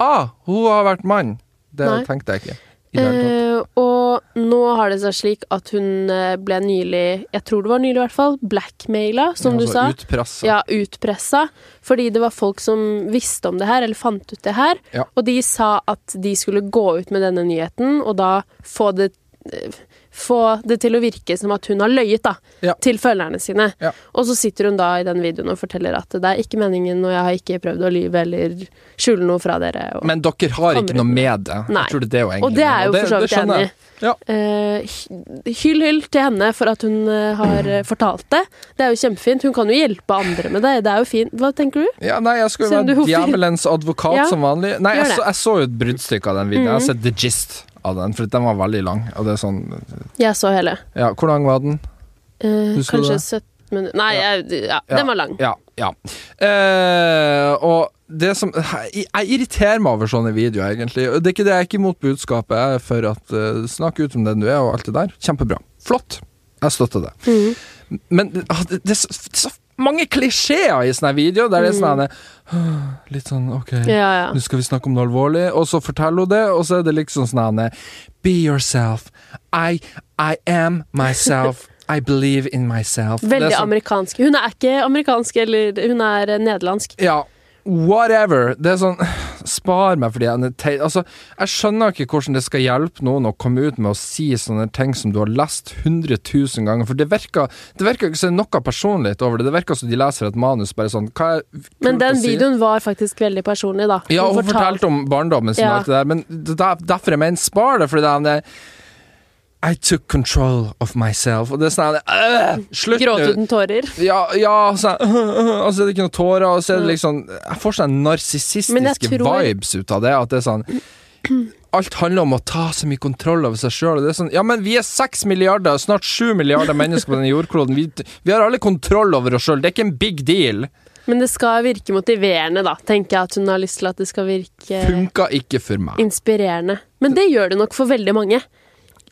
Ah, hun har vært mann! Det Nei. tenkte jeg ikke. I det hele tatt. Eh, og nå har det seg slik at hun eh, ble nylig, jeg tror det var nylig i hvert fall, blackmaila, som altså du sa. Utpressa. Ja, utpressa. Fordi det var folk som visste om det her, eller fant ut det her. Ja. Og de sa at de skulle gå ut med denne nyheten, og da få det eh, få det til å virke som at hun har løyet da, Ja. til følgerne sine. Ja. Og så sitter hun da i den videoen og forteller at det er ikke meningen, og jeg har ikke prøvd å lyve eller skjule noe fra dere. Og, Men dere har ikke Kommer noe med det. Nei. Jeg tror det er det hun egentlig og det er jo mener, for så vidt det jeg skjønner enig i. Ja. Eh, hyll, hyll til henne for at hun eh, har eh, fortalt det. Det er jo kjempefint. Hun kan jo hjelpe andre med det. Det er jo fint. Hva tenker du? Ja, nei, jeg skulle Siden du være er homofil. djevelens advokat Ja, som vanlig. Nei, gjør jeg det. Mm. så, jeg så jo et bruddstykke av den videoen. Jeg har sett the gist av den, for den var veldig lang. Og det er sånn Jeg så hele. Ja, hvor lang var den? Eh, Husker du kanskje det? 17 minutter Nei, Ja. jeg, ja, Ja. den var lang. Ja. ja. Eh, og det som jeg, jeg irriterer meg over sånne videoer, egentlig. Og Det er ikke det jeg er ikke imot budskapet. Jeg er for at eh, Snakk ut om den du er, og alt det der. Kjempebra. Flott. Jeg støtter det. Mhm. Men ah, det, det, er så, det er så mange klisjeer i sånne her videoer. Der det er sånn her, Litt sånn OK, Mm. Ja, ja. nå skal vi snakke om noe alvorlig, og så forteller hun det, og så er det liksom sånn her Be yourself. I, I am myself. I believe in myself. Det er Veldig sånn- amerikansk. Hun er ikke amerikansk, eller hun er eh, nederlandsk. Ja, whatever. Det er sånn Spar meg for de ene tei- Altså, jeg skjønner ikke hvordan det skal hjelpe noen å komme ut med å si sånne ting som du har lest 100 000 ganger, for det virker, det virker ikke som det er noe personlig over det. Det virker som de leser et manus bare sånn Hva er kult Men å den si? videoen var faktisk veldig personlig, da. Ja, hun fortalte om barndommen sin og Ja. alt det der, men det- der, derfor jeg mener spar det, fordi det er en det- I took control of myself. Og det er sånn øh, Slutt nå! Gråt uten tårer. Ja, ja sånn, og så er det ikke noe tårer, og så er det liksom Jeg får sånne Men jeg narsissistiske tror- vibes ut av det. At det er sånn Alt handler om å ta så mye kontroll over seg sjøl. Sånn, ja, men vi er seks milliarder, snart sju milliarder mennesker på denne jordkloden. Vi, vi har alle kontroll over oss sjøl. Det er ikke en big deal. Men det skal virke motiverende, da. Tenker jeg at hun har lyst til at det skal virke Funka ikke for meg. inspirerende. Men det gjør det nok for veldig mange.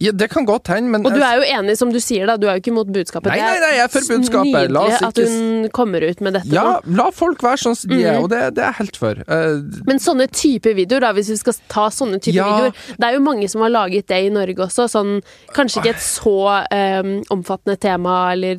Ja, det kan godt hende, men Og du er jo enig, som du sier, da. Du er jo ikke imot budskapet. Nei, Det er nei, nei, jeg er for budskapet. La oss Nydelig at ikke hun Mm. kommer ut med dette ja, nå. la folk være sånn som de er, og det, det er jeg helt for. Eh, Men sånne type videoer, da, hvis vi skal ta sånne type Ja. videoer Det er jo mange som har laget det i Norge også. Sånn, kanskje ikke et så em, omfattende tema, eller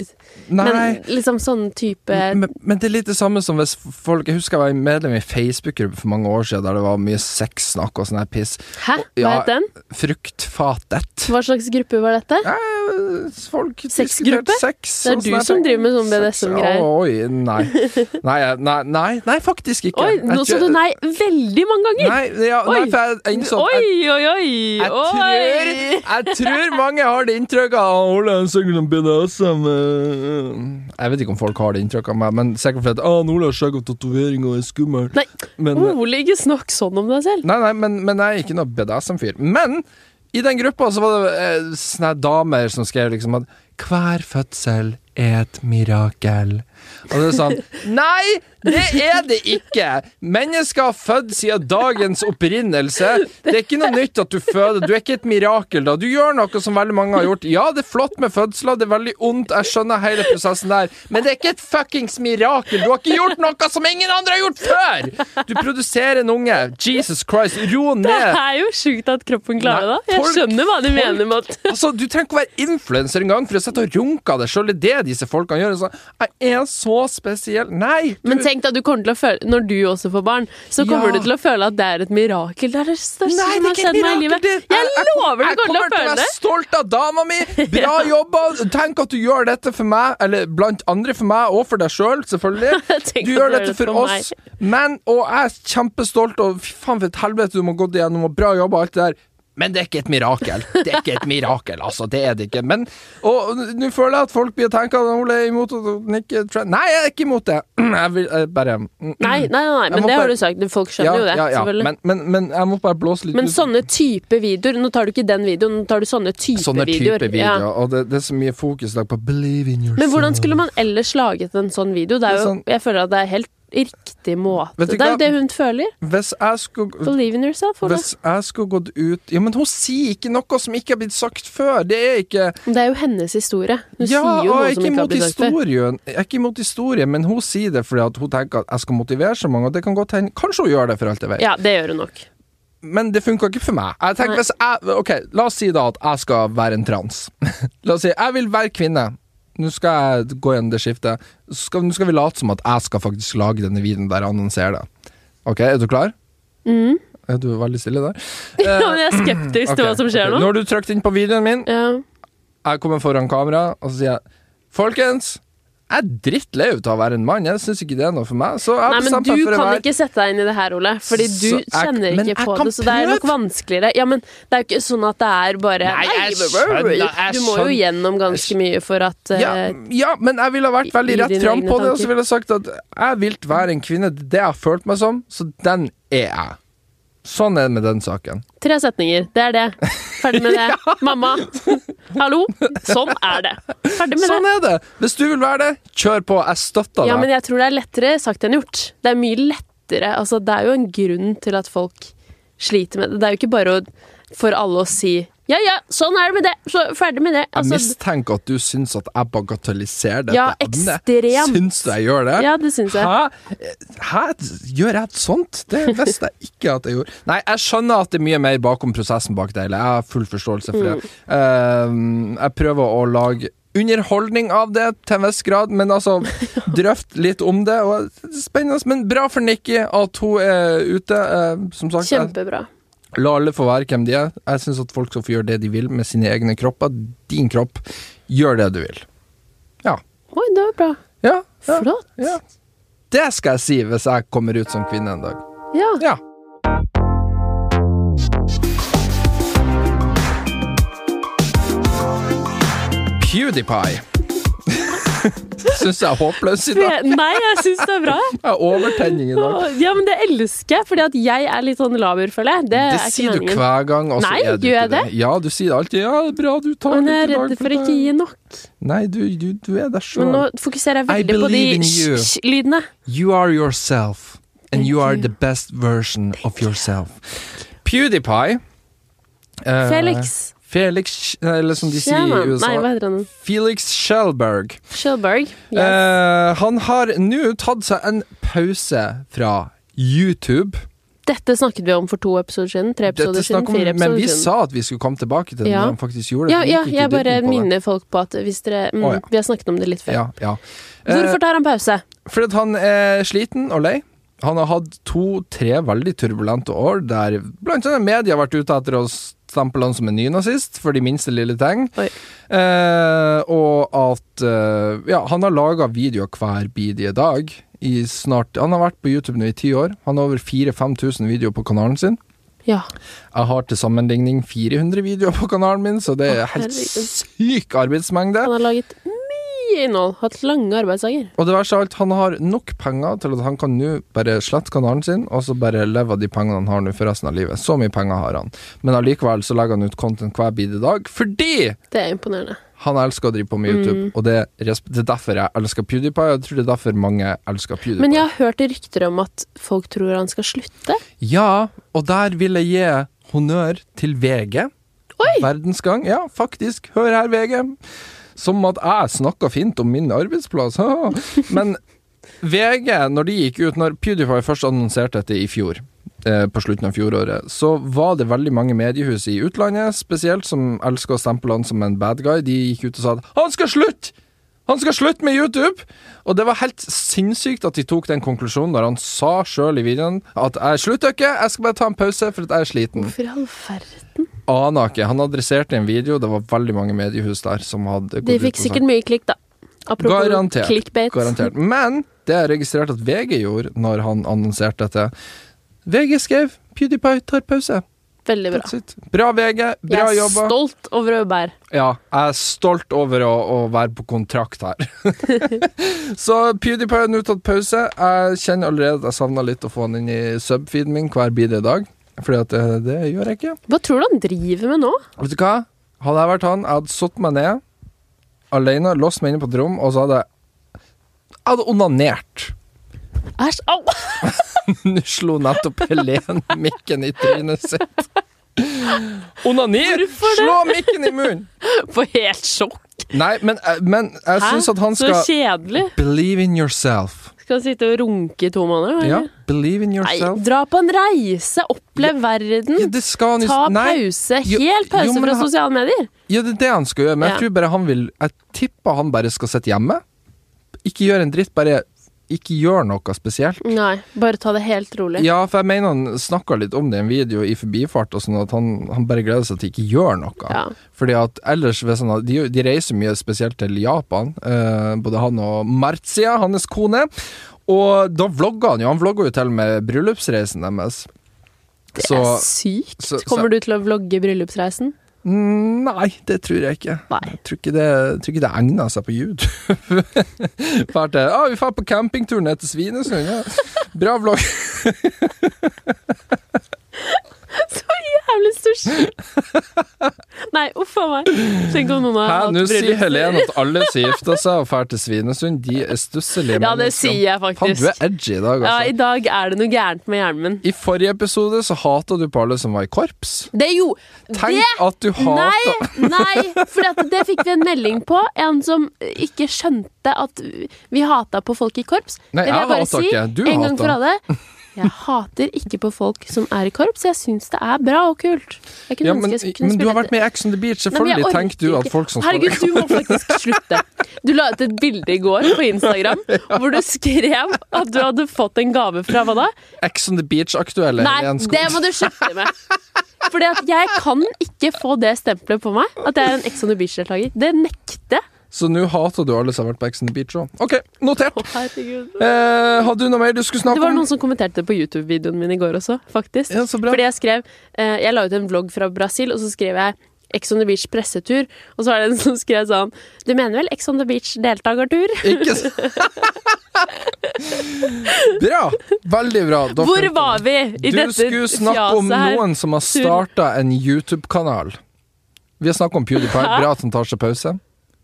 nei. Men liksom sånn type Men, men det er litt det samme som hvis folk Jeg husker jeg var medlem i Facebook-gruppe for mange år siden der det var mye sexsnakk og sånn her piss. Hæ, hva Ja. het den? Fruktfatet. Hva slags gruppe var dette? Eh, Folk Sexgruppe? diskuterte Sex, Det er og du sånne her som ting. driver med sånn Sex- BDSM-greier. Å, Oi, nei. Nei, jeg- nei, nei, nei faktisk ikke. Oi, Jeg nå sa tror- du nei veldig mange ganger! Nei, ja, nei, Oi. for jeg jeg innså at Oi, jeg, oi, oi! jeg, oi. tror, jeg tror mange har det inntrykket av «Å, Ole han snakker om BDSM. eh». Jeg vet ikke om folk har det inntrykket av meg, men sikkert fordi at «Å, Ole har sjekka tatovering og er skummel. Nei. Men, Ole, ikke snakk sånn om deg selv. Nei, nei, men, men jeg er ikke noe BDSM-fyr. Men i den gruppa så var det eh, sånne damer som skrev liksom at hver fødsel er et mirakel. Og det er sånn Nei, det er det ikke! Mennesker har født siden dagens opprinnelse. Det er ikke noe nytt at du føder. Du er ikke et mirakel, da. Du gjør noe som veldig mange har gjort. Ja, det er flott med fødsler, det er veldig ondt, jeg skjønner hele prosessen der, men det er ikke et fuckings mirakel. Du har ikke gjort noe som ingen andre har gjort før! Du produserer en unge. Jesus Christ, ro Det ned. er jo sjukt at kroppen klarer det. Nei, da. Jeg folk- skjønner hva de folk- mener med at Altså, Du trenger ikke å være influenser engang for å sitte og runke av deg sjøl. Det er det disse folkene gjør. Sånn, jeg er så spesiell. Nei! Du, Men tenk at du kommer til å føle Når du også får barn, så kommer Ja. du til å føle at det er et mirakel. Det er det Nei, største som det er har ikke et skjedd meg i mirakel! livet. Det- Jeg jeg- lover jeg du kommer til å å føle være det! stolt av dama mi! Bra jobba! Tenk at du gjør dette for meg, eller blant andre for meg, og for deg sjøl, selv, selvfølgelig. Tenk Du at gjør dette for meg. oss, men Og jeg er kjempestolt, og fy faen for et helvete du må ha gått igjennom, og bra jobba, alt det der. Men det er ikke et mirakel. Det er ikke et mirakel, altså. Det er det ikke. Men Og nå føler jeg at folk blir tenker at Ole er imot at hun ikke trend. Nei, jeg er ikke imot det. Jeg vil jeg bare Nei, nei, nei, nei, Jeg men må det bare- har du sagt. Folk skjønner jo det, ja, ja. selvfølgelig. Men, men, men jeg må bare blåse litt Men ut. sånne type videoer Nå tar du ikke den videoen, nå tar du sånne type Sånne videoer. type Ja. videoer. Og det, det er så mye fokus i dag på believe in yourself. Men hvordan skulle man ellers laget en sånn video? Det er jo, Det jeg føler at det er helt riktig måte. Vet du Det er hva? jo det hun føler. Hvis jeg skulle Believe in yourself. Ola. hvis jeg skulle gått ut Ja, men hun sier ikke noe som ikke har blitt sagt før! Det er ikke Men Det er jo hennes historie. Hun Ja, og sier jo jeg noe er som ikke ikke har imot blitt sagt før. historien, jeg er ikke imot historien, men hun sier det fordi at hun tenker at jeg skal motivere så mange, og det kan godt hende Kanskje hun gjør det, for alt jeg vet. Ja, det gjør hun nok. Men det funka ikke for meg. Jeg tenker, Nei. hvis jeg, ok, La oss si da at jeg skal være en trans. la oss si jeg vil være kvinne. Nå skal jeg gå gjennom det skiftet. Så Skal, nå skal vi late som at jeg skal faktisk lage denne videoen der jeg annonserer det. Ok, Er du klar? Mm. Er du veldig stille der? Ja, men jeg er skeptisk til hva som skjer Eh, nå. nå. Når du trykt inn på videoen min, Ja. jeg kommer foran kamera, og så sier jeg Folkens, jeg er drittlei av å være en mann. Jeg syns ikke det er noe for meg. Så jeg Nei, men bestemte du meg for å kan være ikke sette deg inn i det her, Ole. Fordi du Så jeg- kjenner men ikke jeg på kan det, så det er nok prøve. vanskeligere. Ja, men det er jo ikke sånn at det er bare Nei, jeg men- skjønner, jeg Du må jo skjønner. gjennom ganske mye for at eh, ja, ja, men jeg ville ha vært veldig i rett dine fram egne på det, og så tanker. ville jeg sagt at jeg vil være en kvinne. Det er det jeg har følt meg som, så den er jeg. Sånn er det med den saken. Tre setninger. Det er det. Ferdig med det. Mamma. Hallo. Sånn er det. Ferdig med Sånn det. er det! Hvis du vil være det, kjør på. Jeg støtter Ja, men deg. jeg tror det er lettere sagt enn gjort. Det er mye lettere. Altså, det er jo en grunn til at folk sliter med det. Det er jo ikke bare å, for alle å si ja, ja, sånn er det med det. Så ferdig med det. Jeg Altså, mistenker at du syns at jeg bagatelliserer dette. Ja, emnet. ekstremt. Syns du jeg gjør det? ja, det syns jeg. Hæ? Hæ? Gjør jeg et sånt? Det visste jeg ikke at jeg gjorde. Nei, jeg skjønner at det er mye mer bakom prosessen bak det hele. Jeg har full forståelse for det. Mm. Eh, jeg prøver å lage underholdning av det til en viss grad, men altså drøft litt om det. Og det er spennende, men bra for Nikki at hun er ute. eh, som sagt, jeg- Kjempebra. la alle få være hvem de er. Jeg syns at folk skal få gjøre det de vil med sine egne kropper. Din kropp, gjør det du vil. Oi, det var bra. Ja, ja, Flott. ja. Det skal jeg si hvis jeg kommer ut som kvinne en dag. Ja. Ja. PewDiePie. Syns jeg er håpløs i dag. Nei, jeg syns det er bra. Jeg har overtenning i dag. Ja, men det elsker jeg, fordi at jeg er litt sånn laber, føler jeg. Det, Det er ikke sier du meningen. hver gang. Og så Nei, er du gjør ikke jeg det? Ja, du sier det alltid. Ja, det er bra du tar Men jeg litt i er dag redd for å ikke det. gi nok. Nei, du, du, du er deg Men sjøl. nå fokuserer jeg veldig I på de believe in you. sj-lydene. You are yourself, and Thank you are you. the best version of yourself. PewDiePie eh, Felix. Felix, eller som de sier Sherman. i USA Nei, hva heter han? Felix Schellberg. Schilberg. Yes. Eh, han har nå tatt seg en pause fra YouTube. Dette snakket vi om for to episoder siden. Tre episoder Dette siden. snakker vi Fire om, men episoder vi siden. sa at vi skulle komme tilbake til det Ja. når han faktisk gjorde det. Ja, Vi ja, gikk ikke i jeg bare dybden på det. minner folk på at hvis dere mm, Å, ja. Vi har snakket om det litt før. ja, ja. Eh, Hvorfor tar han pause? Fordi at han er sliten og lei. Han har hatt to-tre veldig turbulente år der blant annet media har vært ute etter å stemple han som en nynazist for de minste lille ting. Oi. Eh, og at eh, Ja, han har laga videoer hver bidige dag i snart Han har vært på YouTube nå i ti år. Han har over 4000-5000 videoer på kanalen sin. Ja. Jeg har til sammenligning 400 videoer på kanalen min, så det er Å, helt herregud. syk arbeidsmengde. Han har laget mye innhold. Hatt lange arbeidsdager. Og det verste av alt, han har nok penger til at han kan nå bare slette kanalen sin, og så bare leve av de pengene han har nå for resten av livet. Så mye penger har han. Men allikevel så legger han ut content hver bidige dag, fordi Det er imponerende. Han elsker å drive på med YouTube, og det, er resp- det er derfor jeg elsker PewDiePie. Og jeg tror det er derfor mange elsker PewDiePie. Men jeg har hørt rykter om at folk tror han skal slutte. Ja, og der vil jeg gi honnør til VG. Verdensgang. Ja, faktisk. Hør her, VG. Som at jeg snakka fint om min arbeidsplass. haha. Men VG, når de gikk ut Når PewDiePie først annonserte dette i fjor, eh, på slutten av fjoråret, så var det veldig mange mediehus i utlandet, spesielt som elsker å stemple han som en bad guy, de gikk ut og sa at 'han skal slutte'! Han skal slutte med YouTube! Og det var helt sinnssykt at de tok den konklusjonen når han sa sjøl i videoen at 'jeg slutter ikke, jeg skal bare ta en pause for at jeg er sliten'. Mm. Hvorfor i all verden? Aner ikke. Han adresserte en video, det var veldig mange mediehus der som hadde gått De ut og fikk sagt- sikkert mye klikk, da. Apropos Garantert, clickbait. Garantert. Men det jeg registrerte at VG gjorde når han annonserte dette VG skrev 'PewDiePie tar pause'. Veldig bra. That's it. Bra, VG. Bra jeg er jobba. stolt over å være Ja, jeg er stolt over å, å være på kontrakt her. så PewDiePie har nå tatt pause. Jeg kjenner allerede at jeg savna litt å få han inn i subfeeden min hver bidige dag. Fordi at det, det gjør jeg ikke. Hva tror du han driver med nå? Vet du hva? Hadde jeg vært han, jeg hadde satt meg ned alene, låst meg inne på et rom, og så hadde jeg Jeg hadde onanert. Æsj, au! Nå slo nettopp Helene mikken i trynet sitt. Onaner! Slå mikken i munnen! For helt sjokk. Nei, men, eh, men jeg Hæ? syns at han Så skal kjedelig. Believe in yourself. Skal han sitte og runke i to måneder? eller? Ja, believe in Nei, yourself. dra på en reise, opplev verden. Ja, det skal han jo Ta Nei, pause. Jo- Helt pause jo, men fra han- sosiale medier. ja, det er det han skal gjøre, men Ja. jeg tror bare han vil Jeg tipper han bare skal sitte hjemme. Ikke gjøre en dritt, bare ikke gjøre noe spesielt. Nei, bare ta det helt rolig. Ja, for jeg mener han snakka litt om det i en video i forbifart, og sånn at han, han bare gleder seg til ikke gjør noe. Ja. Fordi at ellers hvis han, har- de, de reiser mye, spesielt til Japan, eh, både han og Marcia, hans kone. Og da vlogga han jo, han vlogga jo til og med bryllupsreisen deres. det så- er sykt. så- så- Kommer du til å vlogge bryllupsreisen? Mm, Nei, det tror jeg ikke. Nei. Jeg tror ikke det, jeg tror ikke det egner seg på YouTube. Fær til, ah, vi drar på campingtur ned til Svinesund. Ja. Bra vlogg. Jævlig sushi! Nei, uff a meg. Tenk om noen har Hæ, hatt nå sier bryllups- Helene at alle som gifter seg og drar til Svinesund, de er stusselige Ja, det sier jeg Faen, du faktisk. er edgy i dag, Ja, I altså. dag er det noe gærent med hjernen min. I forrige episode så hata du på alle som var i korps. Det er jo Tenk det at du hata Nei, nei, for det, det fikk vi en melding på. En som ikke skjønte at vi hata på folk i korps. Nei, det jeg hater ikke. Du en hater. gang for alle. Jeg hater ikke på folk som er i korps. Jeg syns det er bra og kult. Jeg kunne ja, ønske men, jeg kunne men du har spilt vært med i Ex on the Beach, Nei, men jeg selvfølgelig orker tenker du at ikke. folk som står Herregud, du må faktisk slutte. Du la ut et bilde i går på Instagram hvor du skrev at du hadde fått en gave fra hva da? Ex on the Beach-aktuelle Nei, Helene det Skog. må du slutte med. Fordi at jeg kan ikke få det stempelet på meg, at jeg er en Ex on the Beach-deltaker. Det nekter jeg. Så nå hater du alle som har vært på Ex on the Beach òg. OK, notert. Å, herregud. Eh, hadde du noe mer du skulle Det snakke var om? noen som kommenterte det på YouTube-videoen min i går også, faktisk. Ja, så bra. Fordi jeg skrev eh, Jeg la ut en vlogg fra Brasil, og så skrev jeg Ex on the Beach pressetur, og så var det en som skrev sånn Du mener vel Ex on the Beach deltakertur? Ikke s- Bra. Veldig bra. Da Hvor fulgte var vi i Du dette skulle snakke om fjaset her? noen som har starta en YouTube-kanal. Vi har snakka om PewDiePie. Bra at han tar seg pause.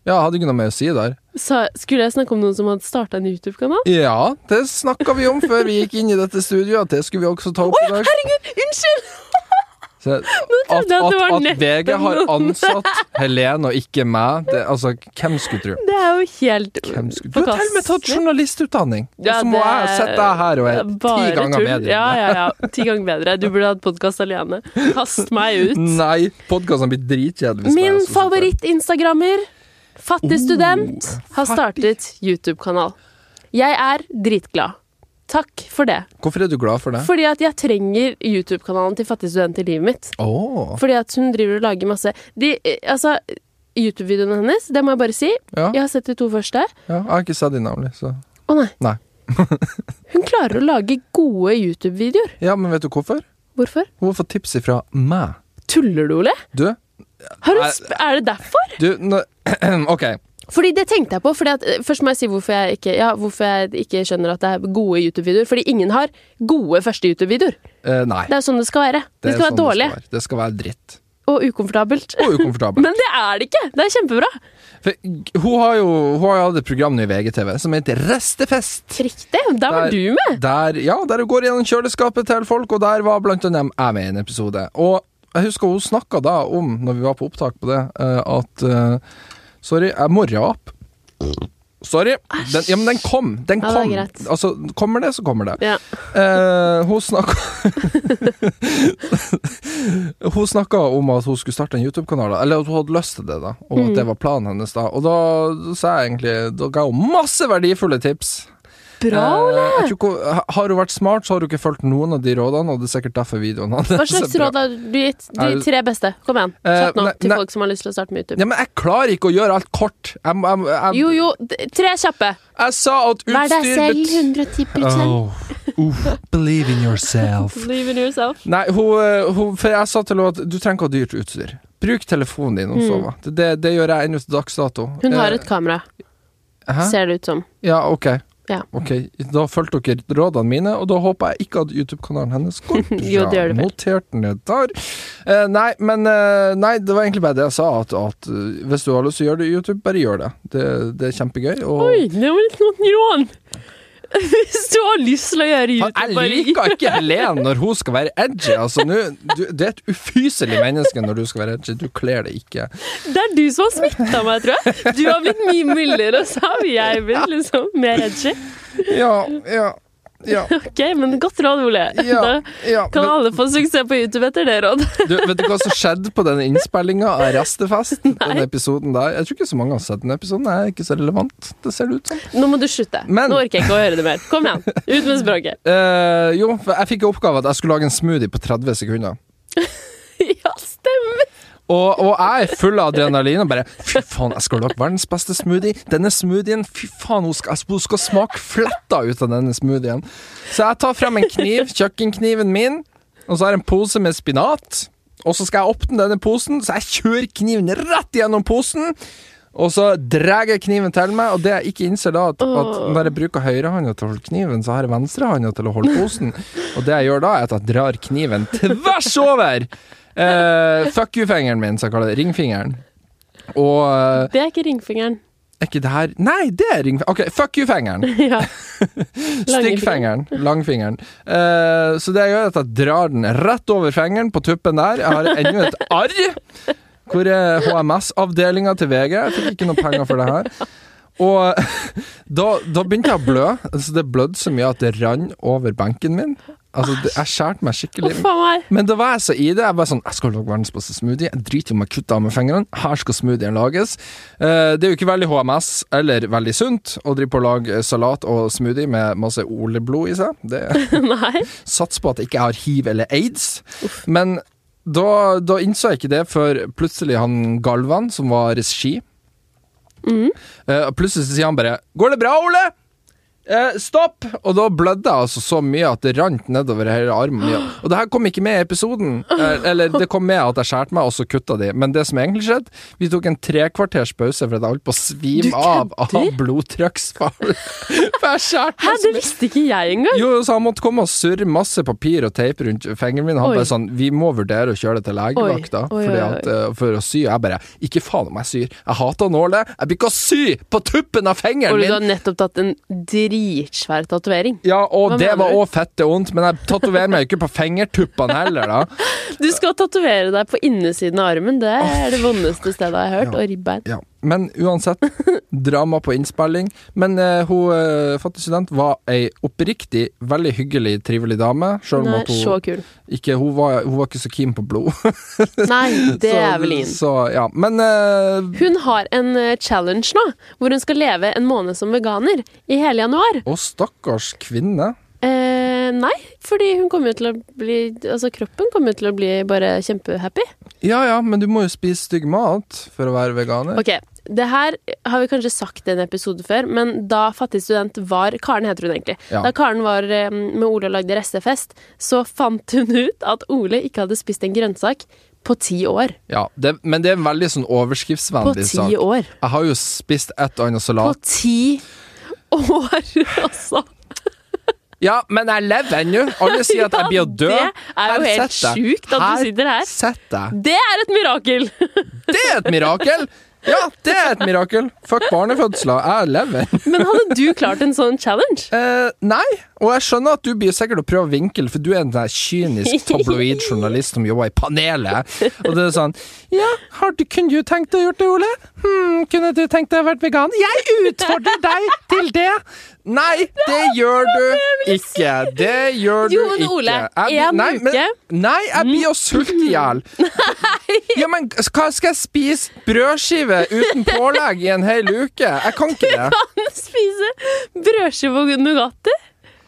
Ja, jeg hadde ikke noe mer å si der. Sa, skulle jeg snakke om noen som hadde starta en YouTube-kanal? Ja, det snakka vi om før vi gikk inn i dette studioet, at det skulle vi også ta opp i dag. Unnskyld! Så, trodde jeg at, det at, var at VG nettopp har noen. ansatt Helene og ikke meg, det, altså, hvem skulle tro? Det er jo helt Hvem skulle Du har til og med tatt journalistutdanning! Og Ja, så må det- jeg sette deg her og er ti Bare ganger tull. bedre. Ja, ja, ja. Ti ganger bedre. Du burde hatt podkast alene. Kast meg ut. Nei, podkasten blir dritkjedelig. hvis jeg sånn Min også Uh, sitter her. favoritt-instagrammer, fattig student, har startet YouTube-kanal. Jeg er dritglad. Takk for det. Hvorfor er du glad for det? Fordi at jeg trenger YouTube-kanalen til fattig student i livet mitt. Åh, Fordi at hun driver og lager masse De, eh, Altså, YouTube-videoene hennes, det må jeg bare si. ja. Jeg har sett de to første. Ja, jeg har ikke sett de navnlig, så Å nei. Nei. Hun klarer å lage gode YouTube-videoer. Ja, men vet du hvorfor? Hvorfor? Hun har fått tips ifra meg. Tuller du, Ole? Du, Har hun Nei. sp er det derfor? du nå- Ok. Fordi det tenkte jeg på. Fordi at, eh, først må jeg si hvorfor jeg ikke, ja, hvorfor jeg ikke skjønner at det er gode YouTube-videoer. Fordi ingen har gode første YouTube-videoer. Eh, nei. Det er jo sånn det skal være. det De er skal sånn være Det skal dårlige. være, det skal være dritt. og ukomfortabelt. Og ukomfortabel. Men det er det ikke! Det er kjempebra. For hun har jo hun har jo hatt et program nå i VGTV som heter Restefest. Riktig! Der var Der- du med! Der, ja, der hun går gjennom kjøleskapet til folk, og der var blant annet jeg med i en episode. Og jeg husker hun snakka da om, når vi var på opptak på det, eh, at eh, Sorry, jeg må rape. Sorry. Den, ja, men den kom. Den Ja, det er kom. greit. altså, kommer det, så kommer det. Ja. Eh, hun snakka Hun snakka om at hun skulle starte en YouTube-kanal, eller at hun hadde lyst til det, da og Mm. at det var planen hennes da. Og da sa jeg egentlig Da ga hun masse verdifulle tips. Bra, Ole! Eh, jeg tror ikke hun- har hun vært smart, så har hun ikke fulgt noen av de rådene, og det er sikkert derfor videoen hans Hva er slags bra. råd har du gitt? De Er- tre beste. Kom igjen. Eh, Kjapt nå nei, til nei. folk som har lyst til å starte med YouTube. Ja, men jeg klarer ikke å gjøre alt kort. Jeg, må- jeg, må- jeg, Jo, jo, d- tre kjappe. jeg sa at utstyr Vær deg selv bet- 110 Oh, oh, believe in yourself. Believe in yourself. Nei, hun, eh, hun, for jeg sa til henne at du trenger ikke ha dyrt utstyr. Bruk telefonen din når du Mm. sover. Det, det, det gjør jeg ennå til dags dato. Hun har Eh, et kamera, hæ? ser det ut som. Ja, ok. Ja. Ok, Da fulgte dere rådene mine, og da håper jeg ikke at YouTube-kanalen hennes går bra. Jo, det gjør det vel. Notert ned der. Eh, nei, men eh, Nei, det var egentlig bare det jeg sa, at, at eh, hvis du har lyst til å gjøre det i YouTube, bare gjør det. Det, det er kjempegøy. Og Oi, det var litt noen rån! Hvis du har lyst til å gjøre Faen, YouTube, bare Jeg liker ikke Helen når hun skal være edgy. Altså, nå- du, det er et ufyselig menneske når du skal være edgy. Du kler det ikke. Det er du som har smitta meg, tror jeg. Du har blitt mye mildere, og så har jeg blitt liksom mer edgy. Ja, ja, ja. Ok, men godt råd, Ole. Ja, ja. Da kan Men, alle få suksess på YouTube etter det rådet. du, vet du hva som skjedde på den innspillinga av Restefest? Den episoden der. Jeg tror ikke så mange har sett den episoden. Den er ikke så relevant, det ser det ut som. Nå må du slutte. Men- Nå orker jeg ikke å høre det mer. Kom igjen. Ut med språket. Eh, jo, for jeg fikk i oppgave at jeg skulle lage en smoothie på 30 sekunder. Ja, stemmer! Og, og jeg er full av adrenalin og bare Fy faen, jeg skal lage verdens beste smoothie. Denne smoothien, fy faen, hun skal, hun skal smake fletta ut av denne smoothien. Så jeg tar frem en kniv, kjøkkenkniven min, og så har jeg en pose med spinat. Og så skal jeg åpne denne posen, så jeg kjører kniven rett gjennom posen. Og så drar jeg kniven til meg, og det jeg ikke innser da, at, at når jeg bruker høyrehånda til å holde kniven, så har jeg venstrehånda til å holde posen. Og det jeg gjør da, er at jeg drar kniven tvers over eh, fuck you-fingeren min, som jeg kaller det. Ringfingeren. Og eh, Det er ikke ringfingeren. er ikke det her Nei, det er ringfingeren. Ok, fuck you-fingeren. Ja. Styggfingeren. Langfingeren. Eh, så det jeg gjør, er at jeg drar den rett over fingeren på tuppen der. Jeg har ennå et arr. Hvor eh, er HMS-avdelinga til VG? Jeg fikk ikke noe penger for det her. Og da, da begynte jeg å blø. Altså, det blødde så mye at det rant over benken min. Altså, det, jeg skjærte meg skikkelig. Huff a meg. Men da var jeg så i det. Jeg bare sånn Jeg skal lage verdens beste smoothie. Jeg driter i om jeg kutter av med fingrene. Her skal smoothien lages. Eh, det er jo ikke veldig HMS eller veldig sunt å drive på å lage salat og smoothie med masse oleblod i seg. Det Nei. Sats på at jeg ikke har hiv eller aids. Men da, da innså jeg ikke det før plutselig han Galvan, som var regi Mm. eh, og Plutselig så sier han bare 'Går det bra, Ole?' Eh, stopp! Og da blødde jeg altså så mye at det rant nedover hele armen. min. Og det her kom ikke med i episoden. Eh, eller det kom med at jeg skjærte meg, og så kutta de. Men det som egentlig skjedde, vi tok en trekvarters pause fordi jeg holdt på å Du svime av kødder? av blodtrykksfall. For jeg skjærte Hæ, meg så det visste ikke jeg engang. jo, så han måtte komme og surre masse papir og teip rundt fingeren min. Han Oi. bare sånn Vi må vurdere å kjøre det til legevakta Oi, oi, fordi oi, at, eh, for å sy. Jeg bare Ikke faen om jeg syr. Jeg hater nåler. Jeg blir ikke å sy på tuppen av fingeren Ole, min! du har nettopp tatt en dritsvær tatovering. Ja, og Hva det mener var du? òg fette vondt, men jeg tatoverer meg ikke på fingertuppene heller, da. Du skal tatovere deg på innesiden av armen. Det er det vondeste stedet jeg har hørt. Og ribbein. Ja. Men uansett, drama på innspilling. Men eh, hun eh, fattig student var ei oppriktig veldig hyggelig, trivelig dame, sjøl om Nei, at så hun kul. ikke Hun var, hun var ikke så keen på blod. Nei, det Så- er vel ingen. Så, ja. Men eh, Hun har en eh, challenge nå, hvor hun skal leve en måned som veganer i hele januar. Å, stakkars kvinne. Eh, nei, fordi hun kommer jo til å bli Altså, kroppen kommer jo til å bli bare kjempehappy. Ja ja, men du må jo spise stygg mat for å være veganer. Ok, det her har vi kanskje sagt i en episode før, men da fattig student var Karen heter hun egentlig. Ja. Da Karen var eh, med Ole og lagde restefest, så fant hun ut at Ole ikke hadde spist en grønnsak på ti år. Ja, det, men det er en veldig sånn På overskriftsvennlig sak. ti år. Jeg har jo spist et og annet På salat. ti år, altså! Ja, men jeg lever ennå! Alle sier at jeg blir å dø. Ja, det er jo Her, helt sett deg. sjukt at du sitter her. Sett deg. Det er et mirakel! Det er et mirakel! Ja, det er et mirakel. Fuck barnefødsler, jeg lever. Men hadde du klart en sånn challenge? Eh, nei, og jeg skjønner at du blir sikkert å prøve å vinkle, for du er en der kynisk tabloid journalist som jobber i panelet. Og det er sånn Ja, har du, kunne du tenkt deg å gjort det, Ole? Hm, kunne du tenkt deg å vært vegan? Jeg utfordrer deg til det! Nei, det gjør du ikke. Det gjør du Jo, ikke. men Ole, Jeg blir- en nei, men- uke. Nei, jeg blir jo sulte i hjel. Ja, men hva skal jeg spise? Brødskive uten pålegg i en hel uke? Jeg kan ikke det. Kan spise brødskive og Nugatti?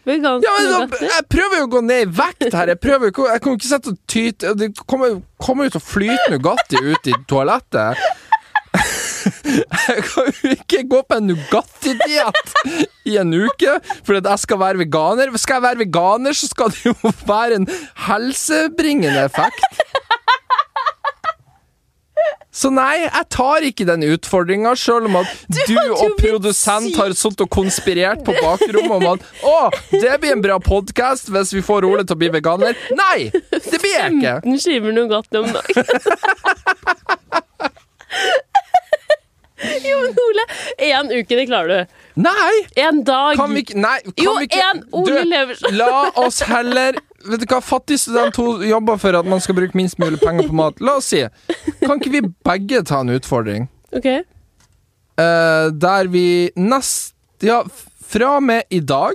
Vegansk Ja, men da, Nugatti? jeg prøver jo å gå ned i vekt her. Jeg prøver jo ikke, jeg kan jo ikke sette og tyte Det kommer, kommer jo til å flyte Nugatti ut i toalettet. Jeg kan jo ikke gå på en Nugatti-diett i en uke fordi at jeg skal være veganer. Skal jeg være veganer, så skal det jo være en helsebringende effekt. Så nei, jeg tar ikke den utfordringa, sjøl om at du, og blitt produsent har sittet og konspirert på bakrommet om at 'Å, det blir en bra podkast hvis vi får Ole til å bli veganer'. Nei! Det blir jeg ikke. 15 skiver Nugatti om dagen. jo, men Ole, én uke, det klarer du. Nei! En dag. Kan vi ikke Nei, kan Jo, vi ikke en Ole Du, Leversen. La oss heller Vet du hva, fattig student to jobber for at man skal bruke minst mulig penger på mat. La oss si Kan ikke vi begge ta en utfordring Ok. eh, der vi nest Ja, f- fra og med i dag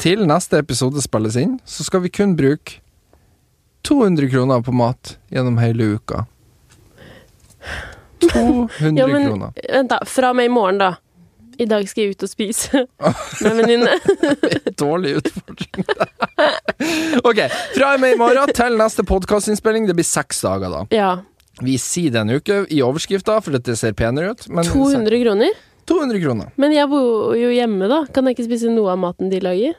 til neste episode spilles inn, så skal vi kun bruke 200 kroner på mat gjennom hele uka. 200 Ja, men kroner. vent, da. Fra og med i morgen, da. I dag skal jeg ut og spise med en venninne. Dårlig utfordring. ok, fra og med i morgen til neste podkastinnspilling. Det blir seks dager, da. Ja. Vi sier det en uke i overskrifta, for det ser penere ut. Men 200 kroner. 200 kroner. Men jeg bor jo hjemme, da. Kan jeg ikke spise noe av maten de lager?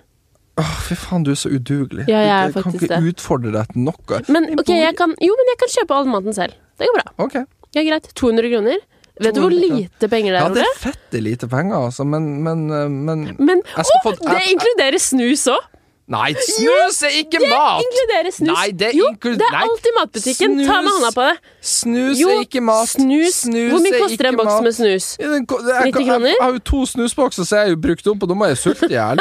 Åh, fy faen, du er så udugelig. Ja, jeg er Du kan faktisk ikke det. utfordre deg til noe. Men Jeg ok, bor- jeg kan, jo, men jeg kan kjøpe all maten selv. Det går bra. Ok. Ja, greit. 200 kroner. Vet du hvor 200 kroner. lite penger det Ja, er, det Ole? er fette lite penger, altså, men, men, eh, men Men Jeg skal Å, få- det jeg- inkluderer snus òg! Nei, snus er ikke mat! Inkluderer snus. Nei, det jo, inklu- det er nei. alltid matbutikken. Ta med Snus. hånda på det. Snus Jo, er ikke mat. snus. Hvor mye er koster en ikke boks mat. med snus? Ja, den ko- jeg, 90 kan- kroner? Jeg, jeg har jo to snusbokser, så jeg er jo brukt opp, og da må jeg sulte i hjel.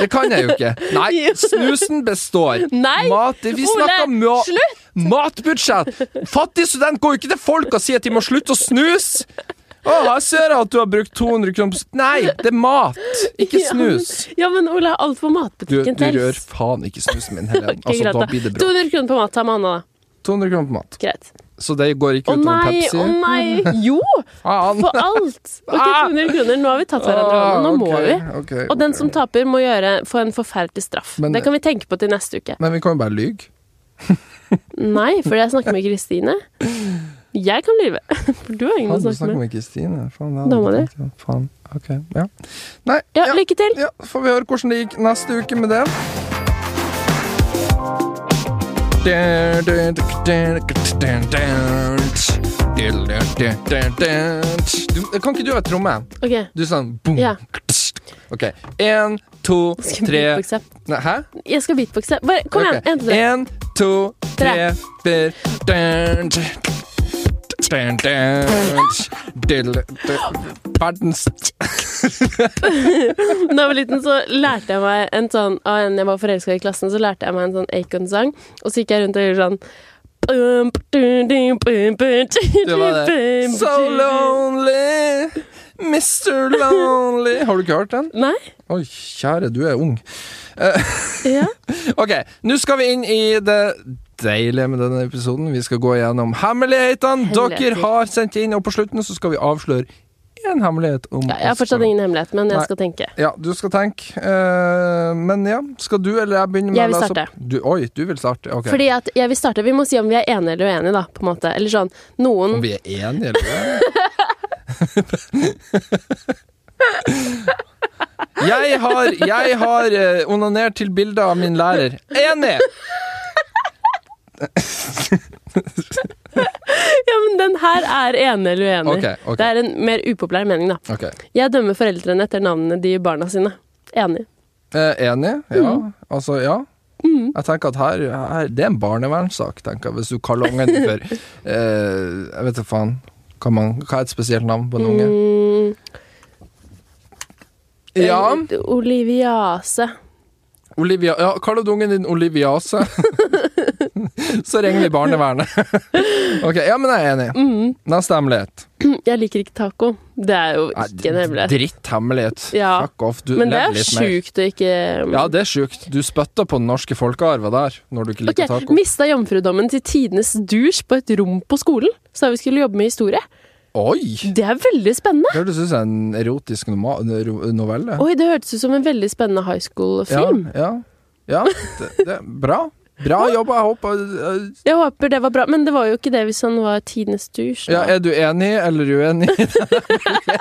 Det kan jeg jo ikke. Nei, Jo. snusen består. Nei, Mat, vi Ole, snakker ma slutt! matbudsjett. Fattig student går jo ikke til folk og sier at de må slutte å snuse. Å, her ser jeg at du har brukt 200 kroner på s- Nei, det er mat, ikke snus. Ja, men, ja, men Ole, alt på Du, matbutikken du rør telles. faen ikke snusen min, Helen. Ok, Altså, greit, da da. blir det bra. 200 kroner på mat. Ta med hånda, da. 200 kroner på mat. Greit. Så det går ikke Å utover nei, Pepsi. å nei. Jo! Faen. For alt. Ok, Ah. 200 kroner. Nå har vi tatt hverandre i hånda. Nå må Ah, ok, vi. ok, Og den ok. som taper, må gjøre, få en forferdelig straff. Men- det kan vi tenke på til neste uke. Men vi kan jo bare lyge. Nei, for jeg snakker med Kristine. Jeg kan lyve. For du har ingen å Faen, du snakke snakker med. med Kristine. Faen, det Dama hadde jeg ikke tenkt, ja. Faen. Ok, ja. Nei, Ja, ja, lykke til. ja, får vi høre hvordan det gikk neste uke med det. Du, kan ikke du ha tromme? Ok. Du er sånn boom. Ja. Ok. Én, to, Skal jeg tre beatboxe? Nei, Hæ? Jeg skal beatboxe. Bare, kom igjen. Ok. En til tre. En, to, tre, Tre. fire Dun, dun, dun, dun, diddle, dun. Verdens Da jeg var liten, så lærte jeg meg en sånn Av en jeg var forelska i klassen, så lærte jeg meg en sånn Acon-sang. Og så gikk jeg rundt og gjorde sånn Det var det. So lonely, Mr. Lonely Har du ikke hørt den? Nei? Oi, kjære, du er ung. Ja. Ok, nå skal vi inn i det deilige med denne episoden. Vi skal gå gjennom hemmelighetene dere Hemmeligheter. har sendt inn, og på slutten så skal vi avsløre én hemmelighet om ja jeg har fortsatt ingen hemmelighet, men Nei. jeg skal tenke. Ja, du skal tenke. eh, men ja, skal du eller jeg begynne med Jeg å vil lese starte. opp? Du, oi, du vil starte? Ok. Fordi at jeg vil starte, Vi må si om vi er enige eller uenige, da. på en måte. Eller sånn, noen Om vi er enige, eller? jeg har, jeg har eh, onanert til bildet av min lærer. Enig! Ja, men den her er enig eller uenig. Ok, ok. Det er en mer upopulær mening, da. Ok, Jeg dømmer foreldrene etter navnene de gir barna sine. Enig. Eh, enig, ja. Mm. Altså, ja. Jeg tenker at her, her Det er en barnevernssak, tenker jeg, hvis du kaller ungen din for eh, Jeg vet da faen. Hva, man, hva er et spesielt navn på en unge? Mm, Ja, eh, Oliviase. Olivia Ja, kaller du ungen din Oliviase? Så ringer vi barnevernet. ok, ja, men jeg er enig. Mhm. Neste hemmelighet. Jeg liker ikke taco. Det er jo Nei, ikke en hemmelighet. Dritt hemmelighet. Ja. Fuck off. Du Men det lever er litt mer. sjukt å ikke Ja, det er sjukt. Du spytter på den norske folkearven der, når du ikke Ok, liker taco. Mista jomfrudommen til tidenes dusj på et rom på skolen. Sa vi skulle jobbe med historie. Oi! Det er veldig spennende. Det hørtes ut som en erotisk noma- ro- novelle. Oi, det hørtes ut som en veldig spennende high school-film. Ja, ja. ja det, det, er bra. Bra jobba. Jeg håper øh, Jeg håper det var bra, men det var jo ikke det hvis han var tidenes dusj. ja, da. Er du enig eller uenig?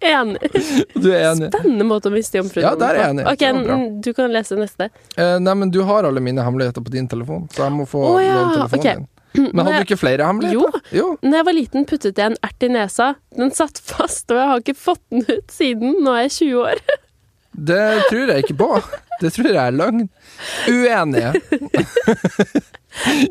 Enig. Du er enig. Spennende måte å miste jomfrudommen Ja, der er jeg enig. på. Ok, Det var bra. n- Du kan lese neste. Eh, nei, men du har alle mine hemmeligheter på din telefon, så jeg må få Å, ja, låne telefonen ok. din. Men hadde Men- du ikke flere hemmeligheter? Jo. Når jeg var liten, puttet jeg en ert i nesa. Den satt fast, og jeg har ikke fått den ut siden. Nå er jeg 20 år. Det tror jeg ikke på. Det tror jeg er løgn. Uenig.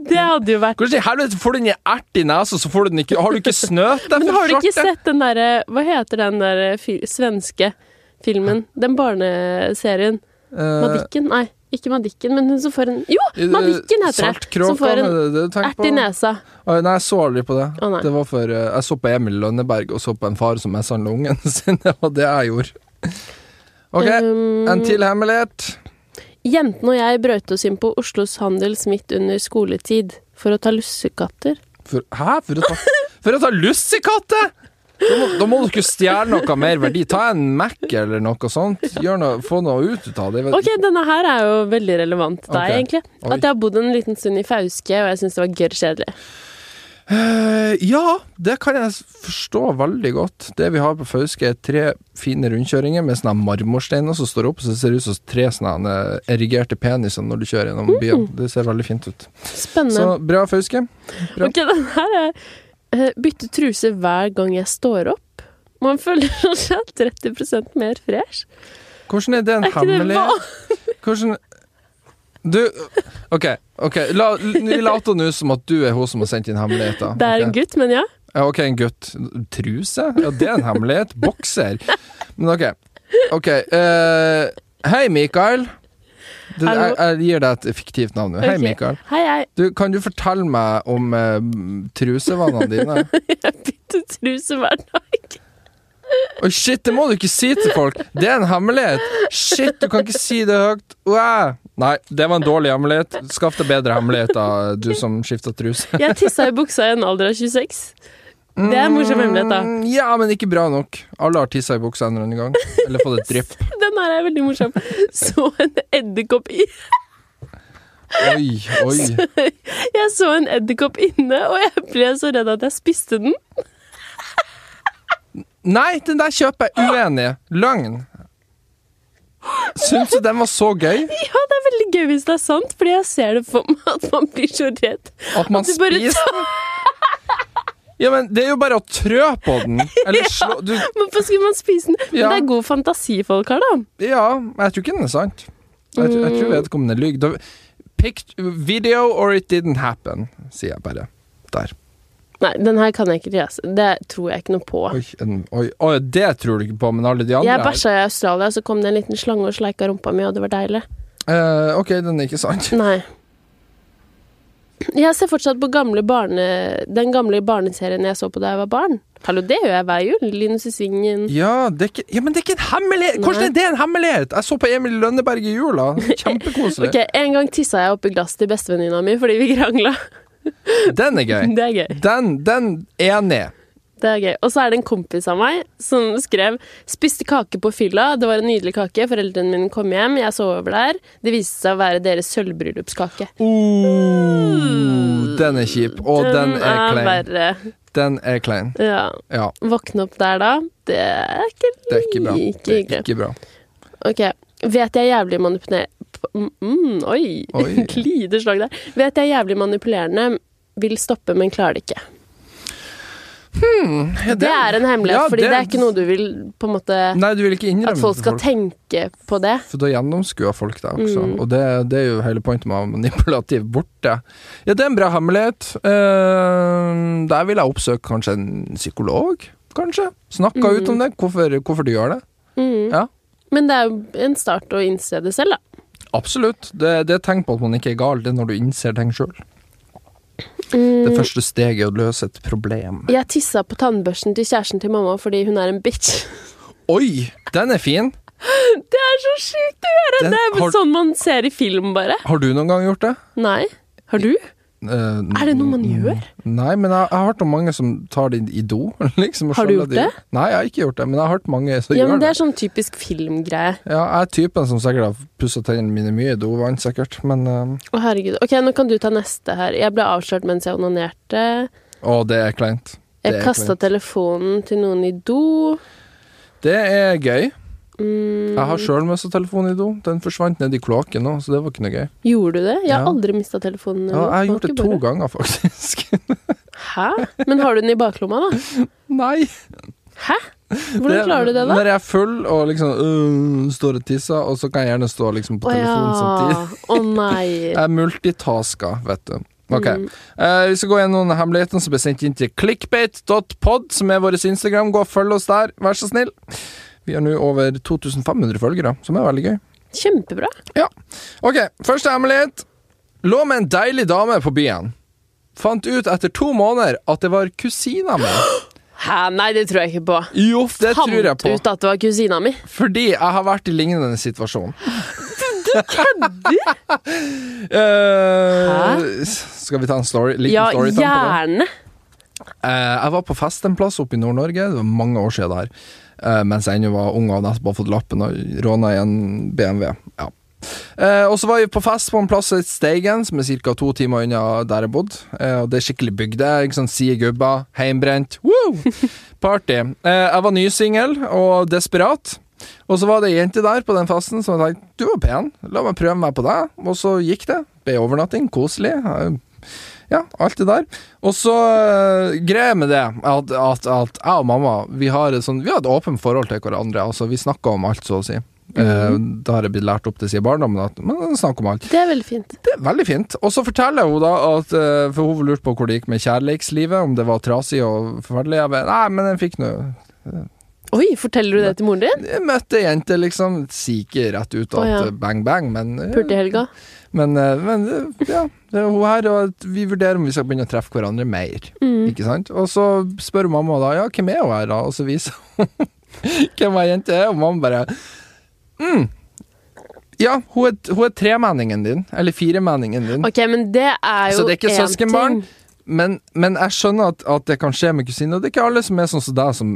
Det hadde jo vært Hvordan i helvete får du den i ert i nesa, så får du den ikke Har du ikke snøt deg Men for har du ikke svarte? sett den derre Hva heter den derre fi- svenske filmen? Den barneserien? Eh, Madikken? Nei, ikke Madikken, men hun som får en Jo! i det- Madikken heter det! Saltkråka, eh, Som får en det er det du tenker ert i på? nesa. Oi, Nei, jeg så aldri på det. Å, nei. det var for, eh, jeg så på Emil Lønneberg og så på en far som messa ungen sin. Det var det jeg gjorde. Ok, Um, en til hemmelighet. Jentene og jeg brøt oss inn på Oslos Handels midt under skoletid for å ta lussekatter. For, hæ? For å ta, for å ta lussekatter?! Da må, da må du ikke stjele noe mer verdi. Ta en Mac eller noe sånt. Gjør noe, få noe ut ut av det. Ok, denne her er jo veldig relevant til deg, Ok. egentlig. Oi. At jeg har bodd en liten stund i Fauske, og jeg syns det var gørr kjedelig. Eh, ja, det kan jeg s- forstå veldig godt. Det vi har på Fauske er tre fine rundkjøringer med sånne marmorsteiner som står opp, så det ser ut som tre sånne erigerte peniser når du kjører gjennom byen. Det ser veldig fint ut. Spennende. Så bra Fauske. bra. Ok, den her er eh, Bytte truse hver gang jeg står opp. Man føler seg 30 mer fresh. Hvordan er det en Er ikke det hemmelighet? Hvordan Du, OK. ok La, vi later nå som at du er hun som har sendt inn hemmeligheter. Det er en ok? gutt, men ja. Ja, ok, en gutt. Truse? Ja, det er en hemmelighet. Bokser. Men ok. Ok. eh, hei, Mikael. Du, jeg, Hallo. jeg gir deg et fiktivt navn nå. Hei, Ok. Mikael. Hei, hei. Du, kan du fortelle meg om eh, trusevanene dine? Jeg bytter truse hver dag. Oi, shit, det må du ikke si til folk! Det er en hemmelighet! Shit, du kan ikke si det høyt! Uæ. Nei, det var en dårlig hemmelighet. Skaff deg bedre hemmeligheter, du som skifter truse. Jeg tissa i buksa i en alder av 26. Det er en morsom hemmelighet, da. Mm, Ja, men ikke bra nok. Alle har tissa i buksa en eller annen gang. Eller fått et drypp. Den her er veldig morsom. Så en edderkopp i Oi, oi. Jeg så en edderkopp inne, og jeg ble så redd at jeg spiste den. Nei, den der kjøper jeg uenig. Løgn. Syns du den var så gøy Ja, det er veldig gøy hvis det er sant, fordi jeg ser det for meg at man blir så redd. at man Du bare spiser den? Ja, men det er jo bare å trø på den. Eller slå du, Hvorfor skulle man spise den? Men Ja. det er god fantasi folk har, da. Ja, men jeg tror ikke den er sant. Jeg, tr- jeg Mm. tror vedkommende lyver. Da- Picked video or it didn't happen, sier jeg bare. Der. Nei, den her kan jeg ikke lese. Det tror jeg ikke noe på. Oi, en, oi, oi, det tror du ikke på, men alle de andre Ah. Jeg her bæsja i Australia, så kom det en liten slange og sleika rumpa mi, og det var deilig. Eh, Ok, den er ikke sant. Nei. Jeg ser fortsatt på gamle barne, den gamle barneserien jeg så på da jeg var barn. Hallo, det gjør jeg hver jul. Linus i Svingen. Ja, det er ikke, ja, men det er ikke en hemmelighet! Hvordan er det en hemmelighet?! Jeg så på Emil i Lønneberg i jula. Kjempekoselig. Ok, En gang tissa jeg oppi glass til bestevenninna mi fordi vi krangla. Den er gøy. Det er gøy. Den, den enig. Det er gøy. Og så er det en kompis av meg som skrev 'Spiste kake på fylla. Det var en nydelig kake. Foreldrene mine kom hjem. Jeg sov over der. Det viste seg å være deres sølvbryllupskake. Oh, den er kjip, og den, er klein. verre. Den er klein. Ja. Ja, Våkne opp der da, det er ikke det er ikke bra. Det like er hyggelig. ikke bra. Ok. Vet jeg jævlig manipulerende mm, Oi! Oi. Glideslag der. Vet jeg jævlig manipulerende, vil stoppe, men klarer det ikke. Hmm, Det er en hemmelighet, Ja, fordi det- det er ikke noe du vil på en måte Nei, du vil ikke innrømme At folk det skal tenke på det. For da gjennomskuer folk deg også, Mm. og det, det er jo hele pointet med å være manipulativ borte. Ja, det er en bra hemmelighet. Eh, der vil jeg oppsøke kanskje en psykolog, kanskje. Snakke Mm. ut om det, hvorfor, hvorfor du gjør det. Mm. Ja. Men det er jo en start å innse det selv, da. Absolutt. Det, det er et tegn på at man ikke er gal, det er når du innser ting sjøl. Det Mm. første steget er å løse et problem. Jeg tissa på tannbørsten til kjæresten til mamma fordi hun er en bitch. Oi, den er fin! Det er så sjukt å gjøre! Den det er vel har- sånn man ser i film, bare. Har du noen gang gjort det? Eh, Nei. Har du? Er det noe man Mm. gjør? Nei, men jeg, jeg har hørt om mange som tar det i do. Liksom, og Har du skjønner gjort de- det? Nei, jeg har ikke gjort det, men jeg har hørt mange som Ja, gjør men det. Det er sånn typisk filmgreie. Ja, jeg er typen som sikkert har pussa tennene mine mye i dovann, sikkert, men eh, Å, herregud. Ok, nå kan du ta neste her. Jeg ble avslørt mens jeg onanerte. Å, det er kleint. Det Jeg er kasta kleint. telefonen til noen i do. Det er gøy. Mm. Jeg har sjøl mista telefonen i do. Den forsvant ned i kloakken nå, så det var ikke noe gøy. Gjorde du det? Jeg har Ja. aldri mista telefonen. Ja, jeg har gjort det to Bakebordet. ganger, faktisk. Hæ? Men har du den i baklomma, da? Nei. Hæ? Hvordan klarer du det, da? Når jeg er full og liksom øh, står og tisser, og så kan jeg gjerne stå liksom på Å telefonen samtidig. ja. Å nei. Jeg er multitaska, vet du. Ok, Mm. Eh, Vi skal gå gjennom hemmeligheten som ble sendt inn til clickbait.pod, som er vår Instagram. Gå og følg oss der, vær så snill. Vi har nå over 2500 følgere, som er veldig gøy. Kjempebra. Ok, første hemmelighet. Lå med en deilig dame på byen. Fant ut etter to måneder at det var kusina mi. Hæ? Nei, det tror jeg ikke på. Jo, det Fant tror jeg på. ut at det var kusina mi. Fordi jeg har vært i lignende situasjon. Du kødder?! Eh, skal vi ta en story, liten Ja, storytime på det? gjerne. Eh, jeg var på fest en plass oppe i Nord-Norge, det var mange år siden der. Eh, mens jeg ennå var ung og hadde nettopp fått lappen og råna i en BMW. Ja. Eh, og så var vi på fest på en plass i Steigen, som er ca. to timer unna der jeg bodde. Eh, og det er skikkelig bygde. Ikke sant, Side gubber, heimbrent. Woo! Party. Eh, jeg var nysingel og desperat. Og så var det ei jente der på den festen som jeg tenkte du var pen, la meg prøve meg på deg. Og så gikk det. Ble overnatting, koselig. Eh, Ja, alt det der. Og så uh, greia med det at, at, at jeg og mamma vi har et, sånn, vi har et åpent forhold til hverandre. Altså, vi snakker om alt, så å si. Eh, da har jeg blitt lært opp til siden barndommen at man snakker om alt. Det er veldig fint. Det er veldig fint. Og så forteller hun da at eh, For hun lurte på hvor det gikk med kjærlighetslivet, om det var trasig og forferdelig. Jeg bare, Nei, men jeg fikk nå Oi, forteller du det til moren din? Jeg møtte ei jente, liksom. Sier ikke rett ut at Å, ja. eh, bang, bang, men eh, Pulte i helga. Men, eh, men eh, ja, det er hun her, og at vi vurderer om vi skal begynne å treffe hverandre mer. Mm. Ikke sant? Og så spør mamma da Ja, hvem er hun her, da? Og så viser hun hvem ei jente er, og mamma bare mm. Ja, hun er, hun er tremenningen din. Eller firemenningen din. Ok, men det er Så jo Altså, det er ikke én søskenbarn? ting. Men, men jeg skjønner at, at det kan skje med kusiner. og Det er ikke alle som er sånn som deg, som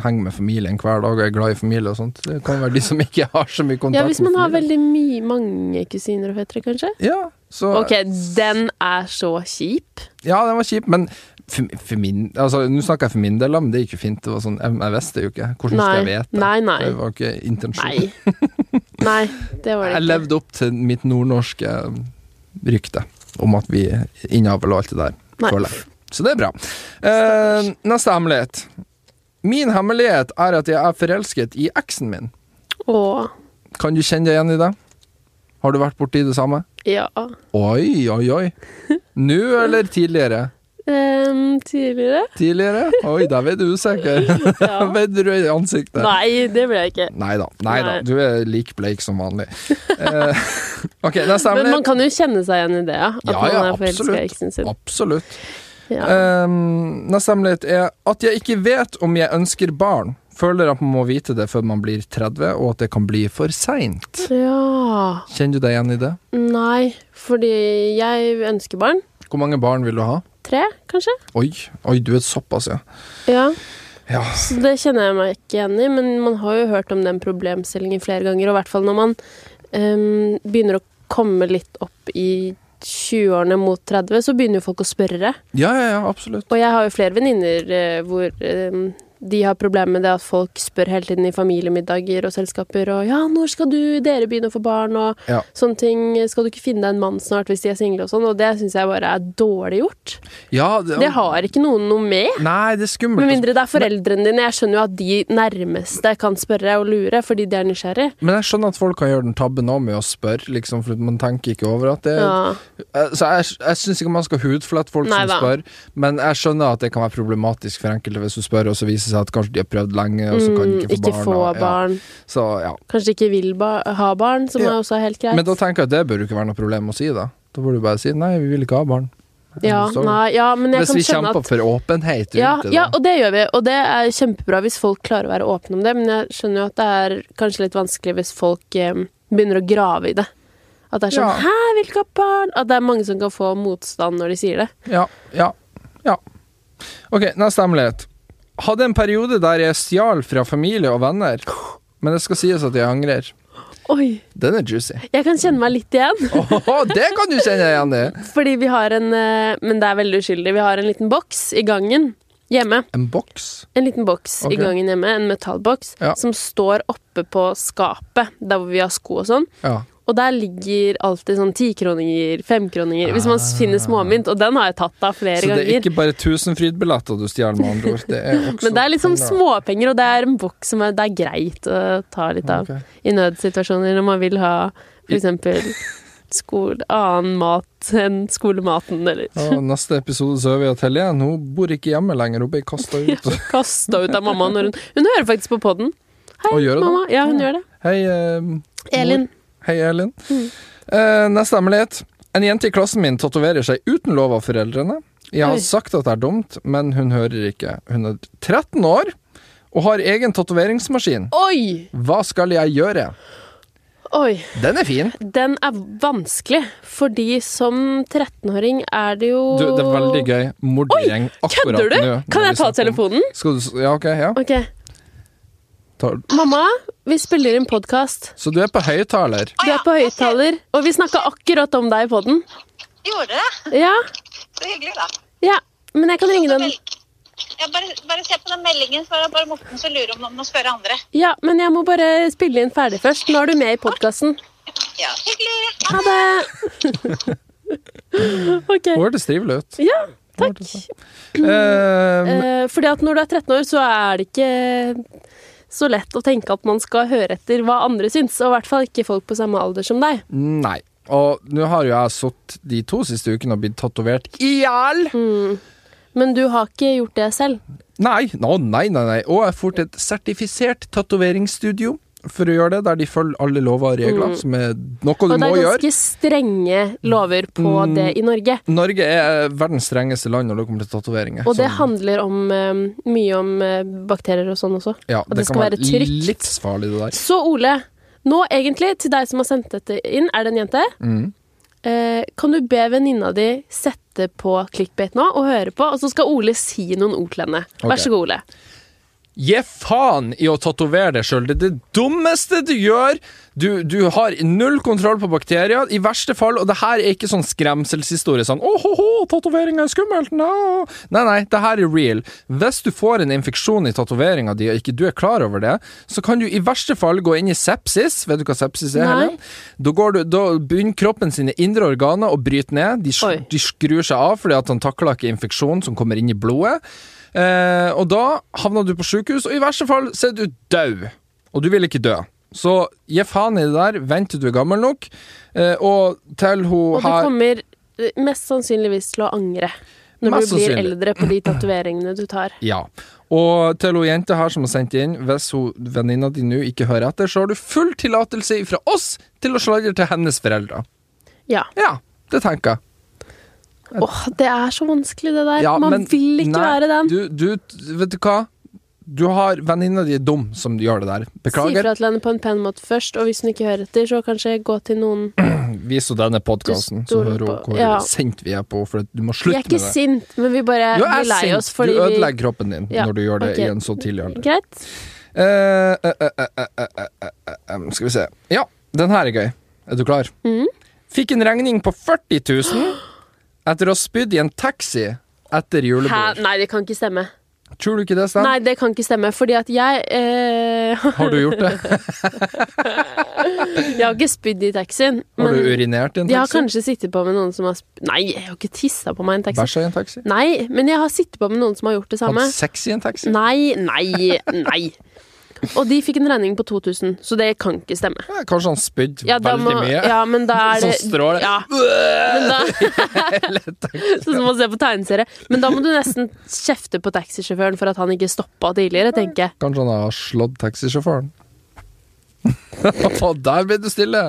henger med familien hver dag og er glad i familie og sånt. Det kan være de som ikke har så mye kontakt Ja, hvis man har med familien. veldig mye, mange kusiner og fettere, kanskje. Ja, så, Ok, den er så kjip. ja, den var kjip, men for, for min Altså, nå snakker jeg for min del, da, men det gikk jo fint. Det var sånn, jeg, jeg visste jo ikke. Hvordan Nei. skal jeg vite Nei, nei. Det var ikke intensjonen. Nei. Nei, det var det Jeg ikke. levde opp til mitt nordnorske um, rykte om at vi innavler og alt det der. Nei. føler jeg. Så det er bra. Eh, neste hemmelighet. Min hemmelighet er at jeg er forelsket i eksen min. Åh, Kan du kjenne deg igjen i det? Har du vært borti det samme? ja. Oi, oi, oi. Nå eller tidligere? Ehm, tidligere? Tidligere? Oi, der ble du usikker. Ja. Der ble du rød i ansiktet. Nei, det ble jeg ikke. Nei da. Nei da. Nei. Du er lik bleik som vanlig. Eh, ok, neste Men man hemmelighet. kan jo kjenne seg igjen i det, ja. At Ja, man ja, er forelska absolutt. i eksen sin. Absolutt. Ja. Um, neste hemmelighet er at jeg ikke vet om jeg ønsker barn. Føler at man må vite det før man blir 30, og at det kan bli for seint. ja. Kjenner du deg igjen i det? Nei, fordi jeg ønsker barn. Hvor mange barn vil du ha? Tre, kanskje? Oi, oi du er såpass, ja. Ja. Ja, Så det kjenner jeg meg ikke igjen i, men man har jo hørt om den problemstillingen flere ganger, og i hvert fall når man øhm, begynner å komme litt opp i 20-årene mot 30, så begynner jo folk å spørre. ja, ja, ja absolutt. Og jeg har jo flere venninner eh, hvor øhm, de har problemer med det at folk spør hele tiden i familiemiddager og selskaper og 'ja, når skal du, dere begynne å få barn', og Ja. sånne ting. 'Skal du ikke finne deg en mann snart hvis de er single', og sånn. Og det syns jeg bare er dårlig gjort. Ja, Det har ikke noen noe med. Nei, det er skummelt. Med mindre det er foreldrene dine. Jeg skjønner jo at de nærmeste kan spørre og lure, fordi de er nysgjerrig. Men jeg skjønner at folk kan gjøre den tabben òg med å spørre, liksom, for man tenker ikke over at det Ja. Eh, Så jeg, jeg syns ikke man skal hudflette folk som Nei da. spør, men jeg skjønner at det kan være problematisk for enkelte hvis du spør, og så viser det seg at kanskje de har prøvd lenge, og så kan de Mm, ikke få barn. og- barn. Ja. Så, ja. Kanskje de ikke vil ba ha barn, som Ja. er også er helt greit. Men da tenker jeg at det bør jo ikke være noe problem å si, da. Da burde du bare si nei, vi vil ikke ha barn. ja, Sorry. nei, ja, men jeg Hvis vi kan skjønne kjemper at for åpenhet rundt ja, det, da. ja, og det gjør vi, og det er kjempebra hvis folk klarer å være åpne om det, men jeg skjønner jo at det er kanskje litt vanskelig hvis folk eh, begynner å grave i det. At det er sånn Ja. 'hæ, jeg vil ikke ha barn?' At det er mange som kan få motstand når de sier det. Ja, ja, ja. Ok, neste hemmelighet. Hadde en periode der jeg stjal fra familie og venner, men det skal sies at jeg angrer. Oi, Den er juicy. jeg kan kjenne meg litt igjen. Åhå, det kan du kjenne deg igjen i! Fordi vi har en eh, Men det er veldig uskyldig. Vi har en liten boks i gangen hjemme. En boks? En liten boks Ok. i gangen hjemme, en metallboks, Ja. som står oppe på skapet, der hvor vi har sko og sånn. Ja. Og der ligger alltid sånn tikroninger, femkroninger, hvis man finner småmynt. Og den har jeg tatt av flere Ah. Så det er ganger. ikke bare Tusenfryd-billetter du stjeler, med andre ord. Det er også Men det er liksom penger. småpenger, og det er en boks som er, det er greit å ta litt av Ok. i nødsituasjoner når man vil ha f.eks. Skole, annen mat enn skolematen, eller Og neste episode så er vi at Helen hun bor ikke hjemme lenger, hun ble kasta ut. kasta ut av mamma når hun Hun hører faktisk på poden. Hei, Og gjør hun det? mamma. Ja, hun gjør det. Hei, eh, Elin. hei Elin. Mm. Eh, neste hemmelighet. En jente i klassen min tatoverer seg uten lov av foreldrene. Jeg har Oi. sagt at det er dumt, men hun hører ikke. Hun er 13 år og har egen tatoveringsmaskin. Oi! Hva skal jeg gjøre? Oi. Den er fin. Den er vanskelig, fordi som 13-åring er det jo Du, det er veldig gøy. Mordergjeng akkurat nå. Kødder du? når Kan vi jeg ta snakker om- telefonen? Skal du s- Ja, OK. Ja. Ok. Ta, Mamma, vi spiller inn podkast. Så du er på høyttaler? Du er på høyttaler, og vi snakka akkurat om deg på den. Gjorde det? Ja, Så hyggelig, da. ja. Men jeg kan ringe den. Ja, bare, bare se på den meldingen, så er det bare Morten som lurer om noen må spørre andre. Ja, men jeg må bare spille inn ferdig først. Nå er du med i podkasten. Ja, hyggelig. Ha det! OK. Hun hørtes trivelig ut. Ja, takk. Eh, Eh, fordi at når du er 13 år, så er det ikke så lett å tenke at man skal høre etter hva andre syns, og i hvert fall ikke folk på samme alder som deg. nei. Og nå har jo jeg sittet de to siste ukene og blitt tatovert i hjel! Men du har ikke gjort det selv. Nei, nå, nei, nei, nei. Og jeg får til et sertifisert tatoveringsstudio for å gjøre det, der de følger alle lover og regler, som er noe Mm. Og du det må er gjøre. Mm. ganske strenge lover på det i Norge. Norge er verdens strengeste land når det kommer til tatoveringer. Og det Så- handler om, eh, mye om eh, bakterier og sånn også. ja, at det skal være trygt. livsfarlig, det der. Så Ole, nå egentlig til deg som har sendt dette inn, er det en jente? Mm. Eh, kan du be venninna di sette på clickbait nå og høre på, og så skal Ole si noen ord til henne. Ok. Vær så god, Ole. Gi faen i å tatovere deg sjøl. Det er det dummeste du gjør. Du, du har null kontroll på bakterier, i verste fall, og det her er ikke sånn skremselshistorie. Sånn 'Å, ho, ho, tatovering er skummelt'. No. Nei, nei, det her er real. Hvis du får en infeksjon i tatoveringa di, og ikke du er klar over det, så kan du i verste fall gå inn i sepsis. Vet du hva sepsis er? Nei. Helen? Da, går du, da begynner kroppen sine indre organer å bryte ned. De, Oi. sk- de skrur seg av fordi at han takler ikke infeksjonen som kommer inn i blodet. Eh, og da havner du på sykehus, og i verste fall så er du død. Og du vil ikke dø. Så gi faen i det der, vent til du er gammel nok, eh, og til hun Og du har kommer eh, mest sannsynligvis til å angre når Mest du blir sannsynlig. eldre på de tatoveringene du tar. Ja. Og til hun jenta her som har sendt inn, hvis hun venninna di nå ikke hører etter, så har du full tillatelse fra oss til å sladre til hennes foreldre. Ja. Ja, det tenker jeg. Åh, det er så vanskelig, det der. Ja, Man men- vil ikke nei, være den. Du, du, vet du hva? Du har venninna di er dum som gjør det der. Si Beklager. fra til henne på en pen måte først, og hvis hun ikke hører etter, så kanskje gå til noen Vis henne denne podkasten, så Du stoler hører hun på- hvor ja. sint vi er på for at Du må Vi er slutte med det. ikke sint, men vi bare Du blir er lei oss sint. Du fordi vi ødelegger kroppen din Ja, når du gjør det ok. i en så tidlig alder. Greit. Eh, eh, eh, eh, eh, eh, eh, eh, eh, skal vi se. Ja, den her er gøy. Er du klar? Mm. Fikk en regning på 40 000 etter å ha spydd i en taxi etter Hæ? julebord. Nei, det kan ikke stemme. Tror du ikke det, Sven? Nei, det kan ikke stemme, fordi at jeg eh, Har du gjort det? Jeg har ikke spydd i taxien. Har du urinert i en Jeg har taxi? kanskje sittet på med noen som har sp Nei, jeg har ikke tissa på meg i en taxi. Bæsja i en taxi? Nei, men jeg har sittet på med noen som har gjort det samme. Hatt sex i en taxi? Nei, nei, nei. Og de fikk en regning på 2000, så det kan ikke stemme. Ja, kanskje han spydde Ja, da veldig må, mye? ja men da er det Sånn strål. Ja, men da, sånn som å se på tegneserie. Men da må du nesten kjefte på taxisjåføren for at han ikke stoppa tidligere, tenker jeg. Kanskje han har slått taxisjåføren? Og der ble du stille!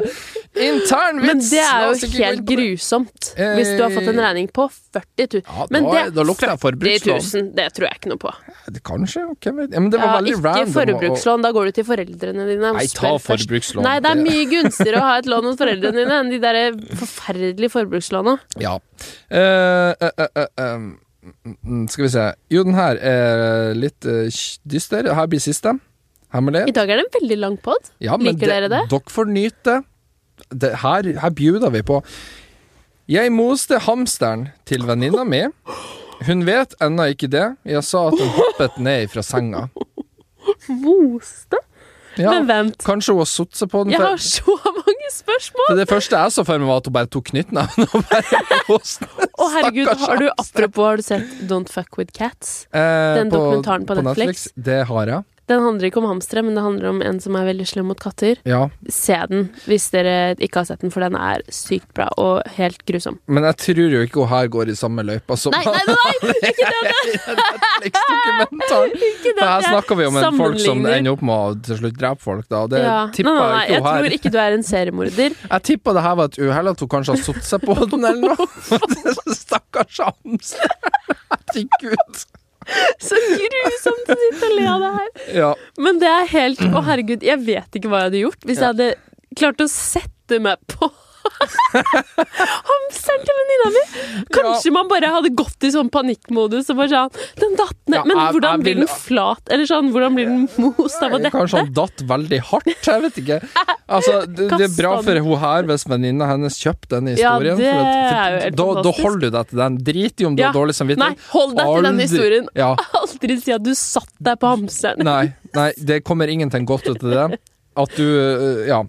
Intern Men vits! det er La oss jo ikke gå helt inn på det. Eh, grusomt hvis du har fått en regning på 40 000. Ja, da- men da lukter jeg 40 000, forbrukslån. det tror jeg ikke noe på. Det Kanskje, ok. men- Ja, men det var Ja, veldig ikke random. å- forbrukslån, da går du til foreldrene dine. og Nei, ta spør først. forbrukslån. Nei, det er Det- mye gunstigere å ha et lån hos foreldrene dine enn de der forferdelige forbrukslåna. Ja. Eh, eh, eh, eh, eh, mm, mm, skal vi se. Jo, den her er litt eh, kj- dyster. Her blir siste. I Hemmelig. dag er det en veldig lang pod. Ja, men Liker dere det? Dere får nyte det. det. Her, her bjuder vi på. Jeg moste hamsteren til venninna mi. Hun vet ennå ikke det. Jeg sa at hun hoppet ned fra senga. Moste? Ja, Men vent. kanskje hun har satt seg på den. Jeg for- har så mange spørsmål! Det, det første jeg så for meg, var at hun bare tok knyttneven og bare moste. Å herregud, Stakkars har du hamster. apropos har du sett Don't Fuck With Cats? Eh, den dokumentaren på Netflix? Det har jeg. Den handler ikke om hamstere, men det handler om en som er veldig slem mot katter. Ja. Se den hvis dere ikke har sett den, for den er sykt bra og helt grusom. Men jeg tror jo ikke hun her går i samme løypa som Nei, nei, nei! Ikke den! Netflix-dokumentaren. Ikke den For Her jeg snakker vi om en folk som sammenligner. ender opp med å til slutt drepe folk, da. Og det Ja. tipper nei, nei, nei, jeg jeg ikke hun tror her. ikke du er en seriemorder. Jeg tipper det her var et uhell, at hun kanskje har satt seg på den eller noe. Stakkars hamster. Herregud. Så grusomt å sitte og le av det her. Ja. Men det er helt Å, herregud, jeg vet ikke hva jeg hadde gjort hvis jeg hadde klart å sette meg på hamsteren til venninna mi. Kanskje man bare hadde gått i sånn panikkmodus og bare sånn Den datt ned. Ja, Men jeg- jeg hvordan blir vil- den flat? Eller sånn, hvordan blir den most av å dette? Kanskje han datt veldig hardt, jeg vet ikke. Altså, det, det er bra for hun her hvis venninna hennes kjøper denne Ja, historien. det for at, er jo for helt da, da fantastisk. holder du deg til den. Drit i om du Ja. har dårlig Nei, samvittighet. hold deg til den Aldri- historien. Ja. Aldri si at du satt deg på hamsteren. Nei, nei, det kommer ingenting godt ut av det. At du øh, Ja.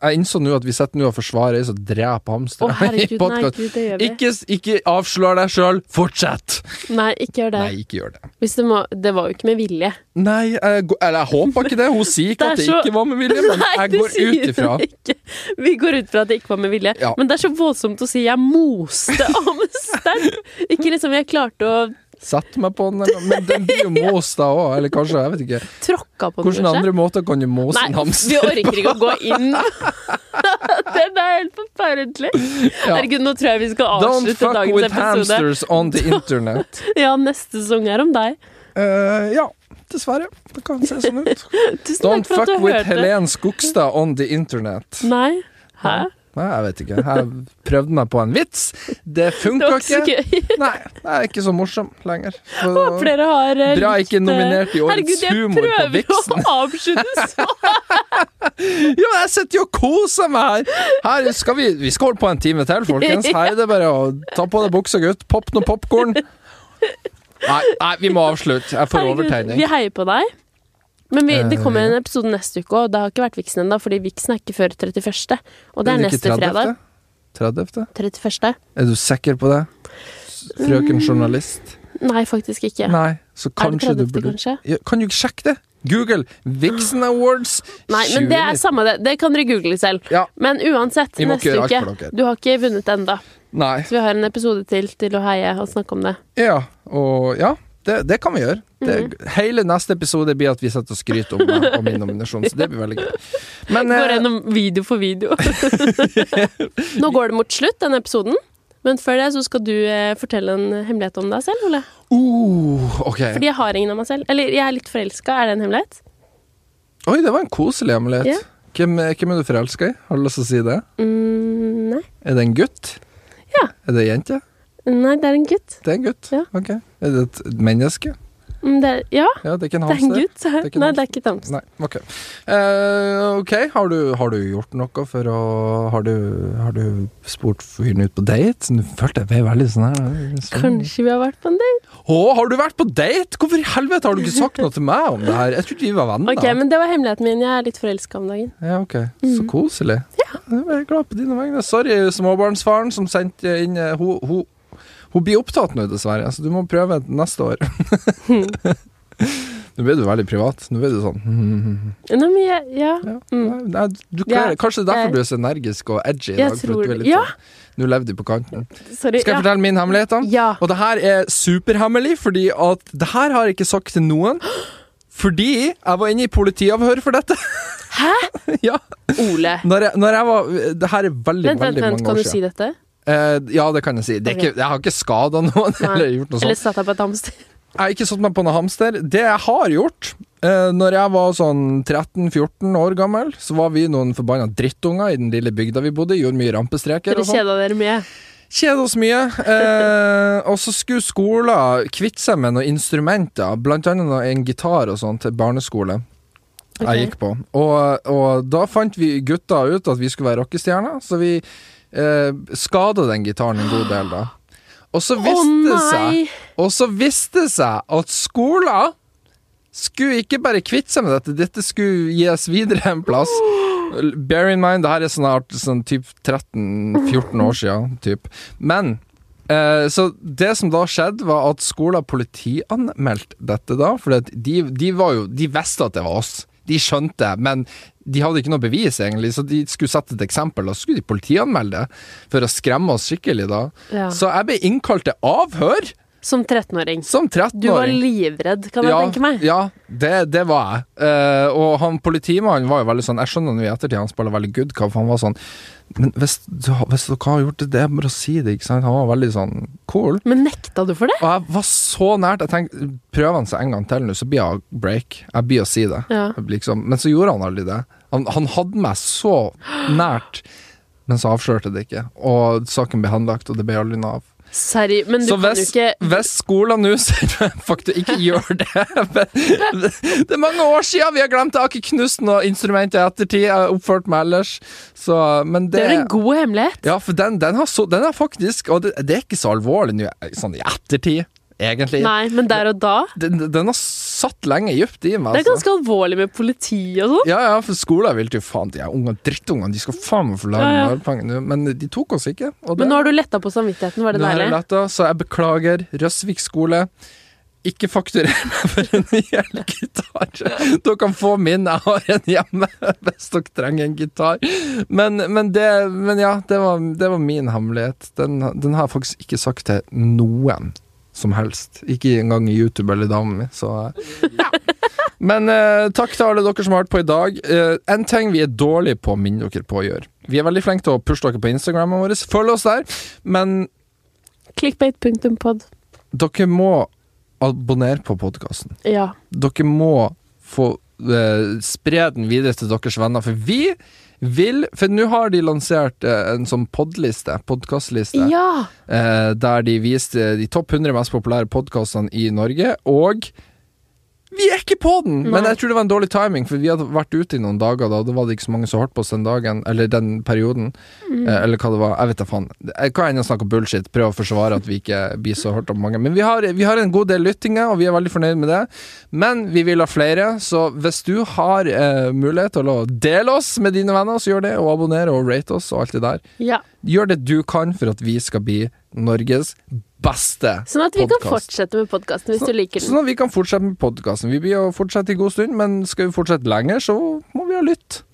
Jeg innså nå at vi sitter nå og forsvarer ei som dreper Å, hamstere i herregud, nei, podkast. gud, det gjør vi. Ikke, ikke avslør deg sjøl, fortsett! Nei, ikke gjør det. Nei, ikke gjør det. Hvis det, må, det var jo ikke med vilje. Nei, jeg, går- eller jeg håper ikke det. Hun sier ikke Det er at det så- ikke var med vilje, men jeg du går sier ut ifra det ikke. Vi går ut fra at det ikke var med vilje. Ja. Men det er så voldsomt å si 'jeg moste hamsteren'. Ikke liksom jeg klarte å Sett meg på den, eller noe. men den blir jo most da òg, eller kanskje, jeg vet ikke. tråkka på den, Hvilke andre måter kan du mose Nei, en vi hamster? orker ikke å gå inn. Den er helt forferdelig. Ja. Herregud, nå tror jeg vi skal Don't avslutte fuck dagens with episode. hamsters on the internet. Ja, neste sesong er om deg. Eh, ja, dessverre. Det kan se sånn ut. Tusen Don't takk for fuck at du with hørte. Helen Skogstad on the internet. Nei? Hæ? Nei, jeg vet ikke. Jeg prøvde meg på en vits. Det Det funka var ikke så ikke. gøy. Nei, jeg er ikke så morsom lenger. Så- Håper dere har eh, Bra likt, ikke eh, nominert i årets humor på Herregud, jeg Vixen. prøver å avslutte så Ja, men jeg sitter jo og koser meg her! her skal vi, vi skal holde på en time til, folkens. Her er det bare å ta på deg buksa, gutt. Popp noe popkorn. Nei, nei, vi må avslutte. Jeg får Herregud, overtegning. Vi heier på deg. Men vi, det Eh, kommer en episode neste uke, og det har ikke vært Vixen ennå, fordi Vixen er ikke før 31. Og det er ikke neste fredag. 30.? 31. Er du sikker på det? S- Frøken journalist? Nei, faktisk ikke. Nei, så kanskje er du det 30. burde kanskje? ja, Kan du ikke sjekke det? Google Vixen Awards Nei, men det er 2019. samme det. Det kan dere google selv. Ja. Men uansett, Vi må ikke neste gjøre alt uke for dere. Du har ikke vunnet ennå, Nei. så vi har en episode til til å heie og snakke om det. Ja, og ja. Det, det kan vi gjøre. Det, Mhm. Hele neste episode blir at vi setter og skryter om meg og min nominasjon, så det blir veldig gøy. Men Går eh, gjennom video for video. Nå går det mot slutt, denne episoden. Men før det så skal du eh, fortelle en hemmelighet om deg selv, Ole. uh, OK. Fordi jeg har ingen av meg selv. Eller jeg er litt forelska. Er det en hemmelighet? Oi, det var en koselig hemmelighet. Ja. Hvem, hvem er du forelska i? Har du lyst til å si det? Mm, nei. Er det en gutt? Ja. Er det ei jente? nei, det er en gutt. Det er en gutt. Ja. Ok. Er det et menneske? Mm, Det er, ja, Ja, det er ikke en det hamster. er en gutt. er ikke en Nei, det er ikke Tams. Nei, ok. Eh, ok, har du, har du gjort noe for å Har du, har du spurt fyren ut på date? Nå følte jeg ble veldig sånn her sånn. Kanskje vi har vært på en date? Å, har du vært på date?! Hvorfor i helvete har du ikke sagt noe til meg om det her? Jeg trodde vi var venner. Ok, men Mm. det var hemmeligheten min. Jeg er litt forelska om dagen. Ja, ok. Så koselig. Jeg er glad på dine vegne. Sorry, småbarnsfaren som sendte inn eh, Hun, hun, hun blir opptatt nå, dessverre, så du må prøve neste år. Nå ble du veldig privat. Nå ble du sånn Nei, men jeg, ja. Ja. Mm. Nei, du klarer, Ja, Kanskje det er jeg- derfor du er så energisk og edgy i Jeg dag. for at du tror er det. litt Ja. sånn, Nå levde du på kanten. Sorry. Skal jeg ja. fortelle min hemmelighet, da? Ja. Og det her er superhemmelig, fordi at det her har jeg ikke sagt til noen. Fordi jeg var inne i politiavhør for dette. Hæ? ja. Ole. Når jeg, når jeg var Det her er veldig, Vent, vent, veldig vent. mange Kan år du siden. si dette? Eh, ja, det kan jeg si. Det er Ok. ikke, jeg har ikke skada noen Nei. eller gjort noe sånt. Eller satt deg på et hamster? Jeg har ikke satt meg på noen hamster. Det jeg har gjort eh, Når jeg var sånn 13-14 år gammel, så var vi noen forbanna drittunger i den lille bygda vi bodde i. Gjorde mye rampestreker Dere og sånn. kjeda dere med. Kjeda oss mye. Eh, og så skulle skolen kvitte seg med noen instrumenter, blant annet noe- en gitar og sånn, til barneskole jeg Ok. gikk på. Og, og da fant vi gutta ut at vi skulle være rockestjerner, så vi eh, skada den gitaren en god del, da. Og så Å viste det seg nei! og så viste det seg at skolen skulle ikke bare kvitte seg med dette, dette skulle gis videre en plass. Bear in mind, det her er snart sånn typ 13-14 år siden, typ. Men eh, så det som da skjedde, var at skolen politianmeldte dette da, for at de, de var jo De visste at det var oss. De skjønte, men de hadde ikke noe bevis, egentlig, så de skulle sette et eksempel, og så skulle de politianmelde det for å skremme oss skikkelig da. Ja. Så jeg ble innkalt til avhør. Som 13-åring. Som 13-åring. Du var livredd, kan jeg ja, tenke meg. Ja, det, det var jeg. Eh, og han politimannen var jo veldig sånn Jeg skjønner nå i ettertid han spiller veldig good cop, for han var sånn Men hvis, du har- hvis dere har gjort det, det er bare å si det, ikke sant? Han var veldig sånn cool. Men nekta du for det? Og jeg var så nært. Jeg tenkte, Prøver han seg en gang til nå, så blir jeg break. Jeg blir å si det. Ja. Liksom. Men så gjorde han aldri det. Han, han hadde meg så nært, men så avslørte det ikke. Og saken ble henlagt, og det ble aldri noe av. Seri, men du Så kan jo hvis, ikke hvis skolen nå sier faktisk ikke gjør det men Det er mange år siden vi har glemt det. Jeg har ikke knust noe instrument i ettertid. Jeg har oppført meg ellers. Så, men Det det, er en god hemmelighet. Ja, for den, den, har så, den er faktisk Og det, det er ikke så alvorlig nå, sånn i ettertid, egentlig. Nei, men der og da Den, den har satt lenge dypt i meg. Det er altså. ganske alvorlig med politi og sånn. Ja, ja, for skolen ville jo faen De her unge drittungene, de skal faen meg få lage Ja, ja. narrepenger nå. Men de tok oss ikke. og det- Men nå har du letta på samvittigheten, var det Nå er deilig? lett, da, så jeg beklager. Røsvik skole. Ikke fakturer meg for en hel gitar. Dere kan få min, jeg har en hjemme hvis dere trenger en gitar. Men, men, det, men ja, det var, det var min hemmelighet. Den, den har jeg faktisk ikke sagt til noen som helst. Ikke engang YouTube eller damen min, så ja. Men eh, takk til alle dere som har hørt på i dag. Eh, en ting vi er dårlige på å minne dere på å gjøre. Vi er veldig flinke til å pushe dere på Instagrammen vår. Følg oss der. Men Clickbait.pod. dere må abonnere på podkasten. Ja. Dere må få eh, spre den videre til deres venner, for vi vil For nå har de lansert eh, en sånn podliste, podkastliste, ja. eh, der de viste de topp 100 mest populære podkastene i Norge, og vi er ikke på den! Men Nei. jeg tror det var en dårlig timing, for vi hadde vært ute i noen dager da, og da var det ikke så mange som hørte på oss den dagen, eller den perioden, eh, eller hva det var. Jeg vet da faen. Jeg kan ennå snakke bullshit, prøve å forsvare at vi ikke blir så hørt av mange. Men vi har, vi har en god del lyttinger, og vi er veldig fornøyd med det. Men vi vil ha flere, så hvis du har eh, mulighet til å dele oss med dine venner, så gjør det, og abonner og rate oss og alt det der. ja. Gjør det du kan for at vi skal bli Norges beste Sånn at vi kan Podcast. fortsette med podkasten hvis Så- du liker den. Sånn at vi kan fortsette med podkasten. Vi blir jo fortsette i god stund, men skal vi fortsette lenger, så må vi ha lytt.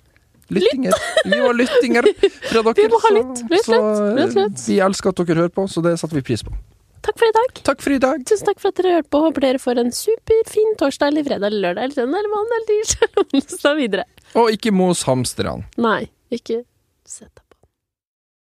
Lyttinger. Vi må ha lyttinger fra dere. Vi må ha så- lytt. Lytt, så, eh, lytt, lytt, lytt. Vi elsker at dere hører på, så det setter vi pris på. Takk for i dag. Takk for i dag. Tusen takk for at dere hørte på. Håper dere får en superfin torsdag eller fredag eller lørdag eller søndag eller mandag eller tirsdag eller onsdag videre. Og ikke mos hamsterne. Nei, ikke sett dem.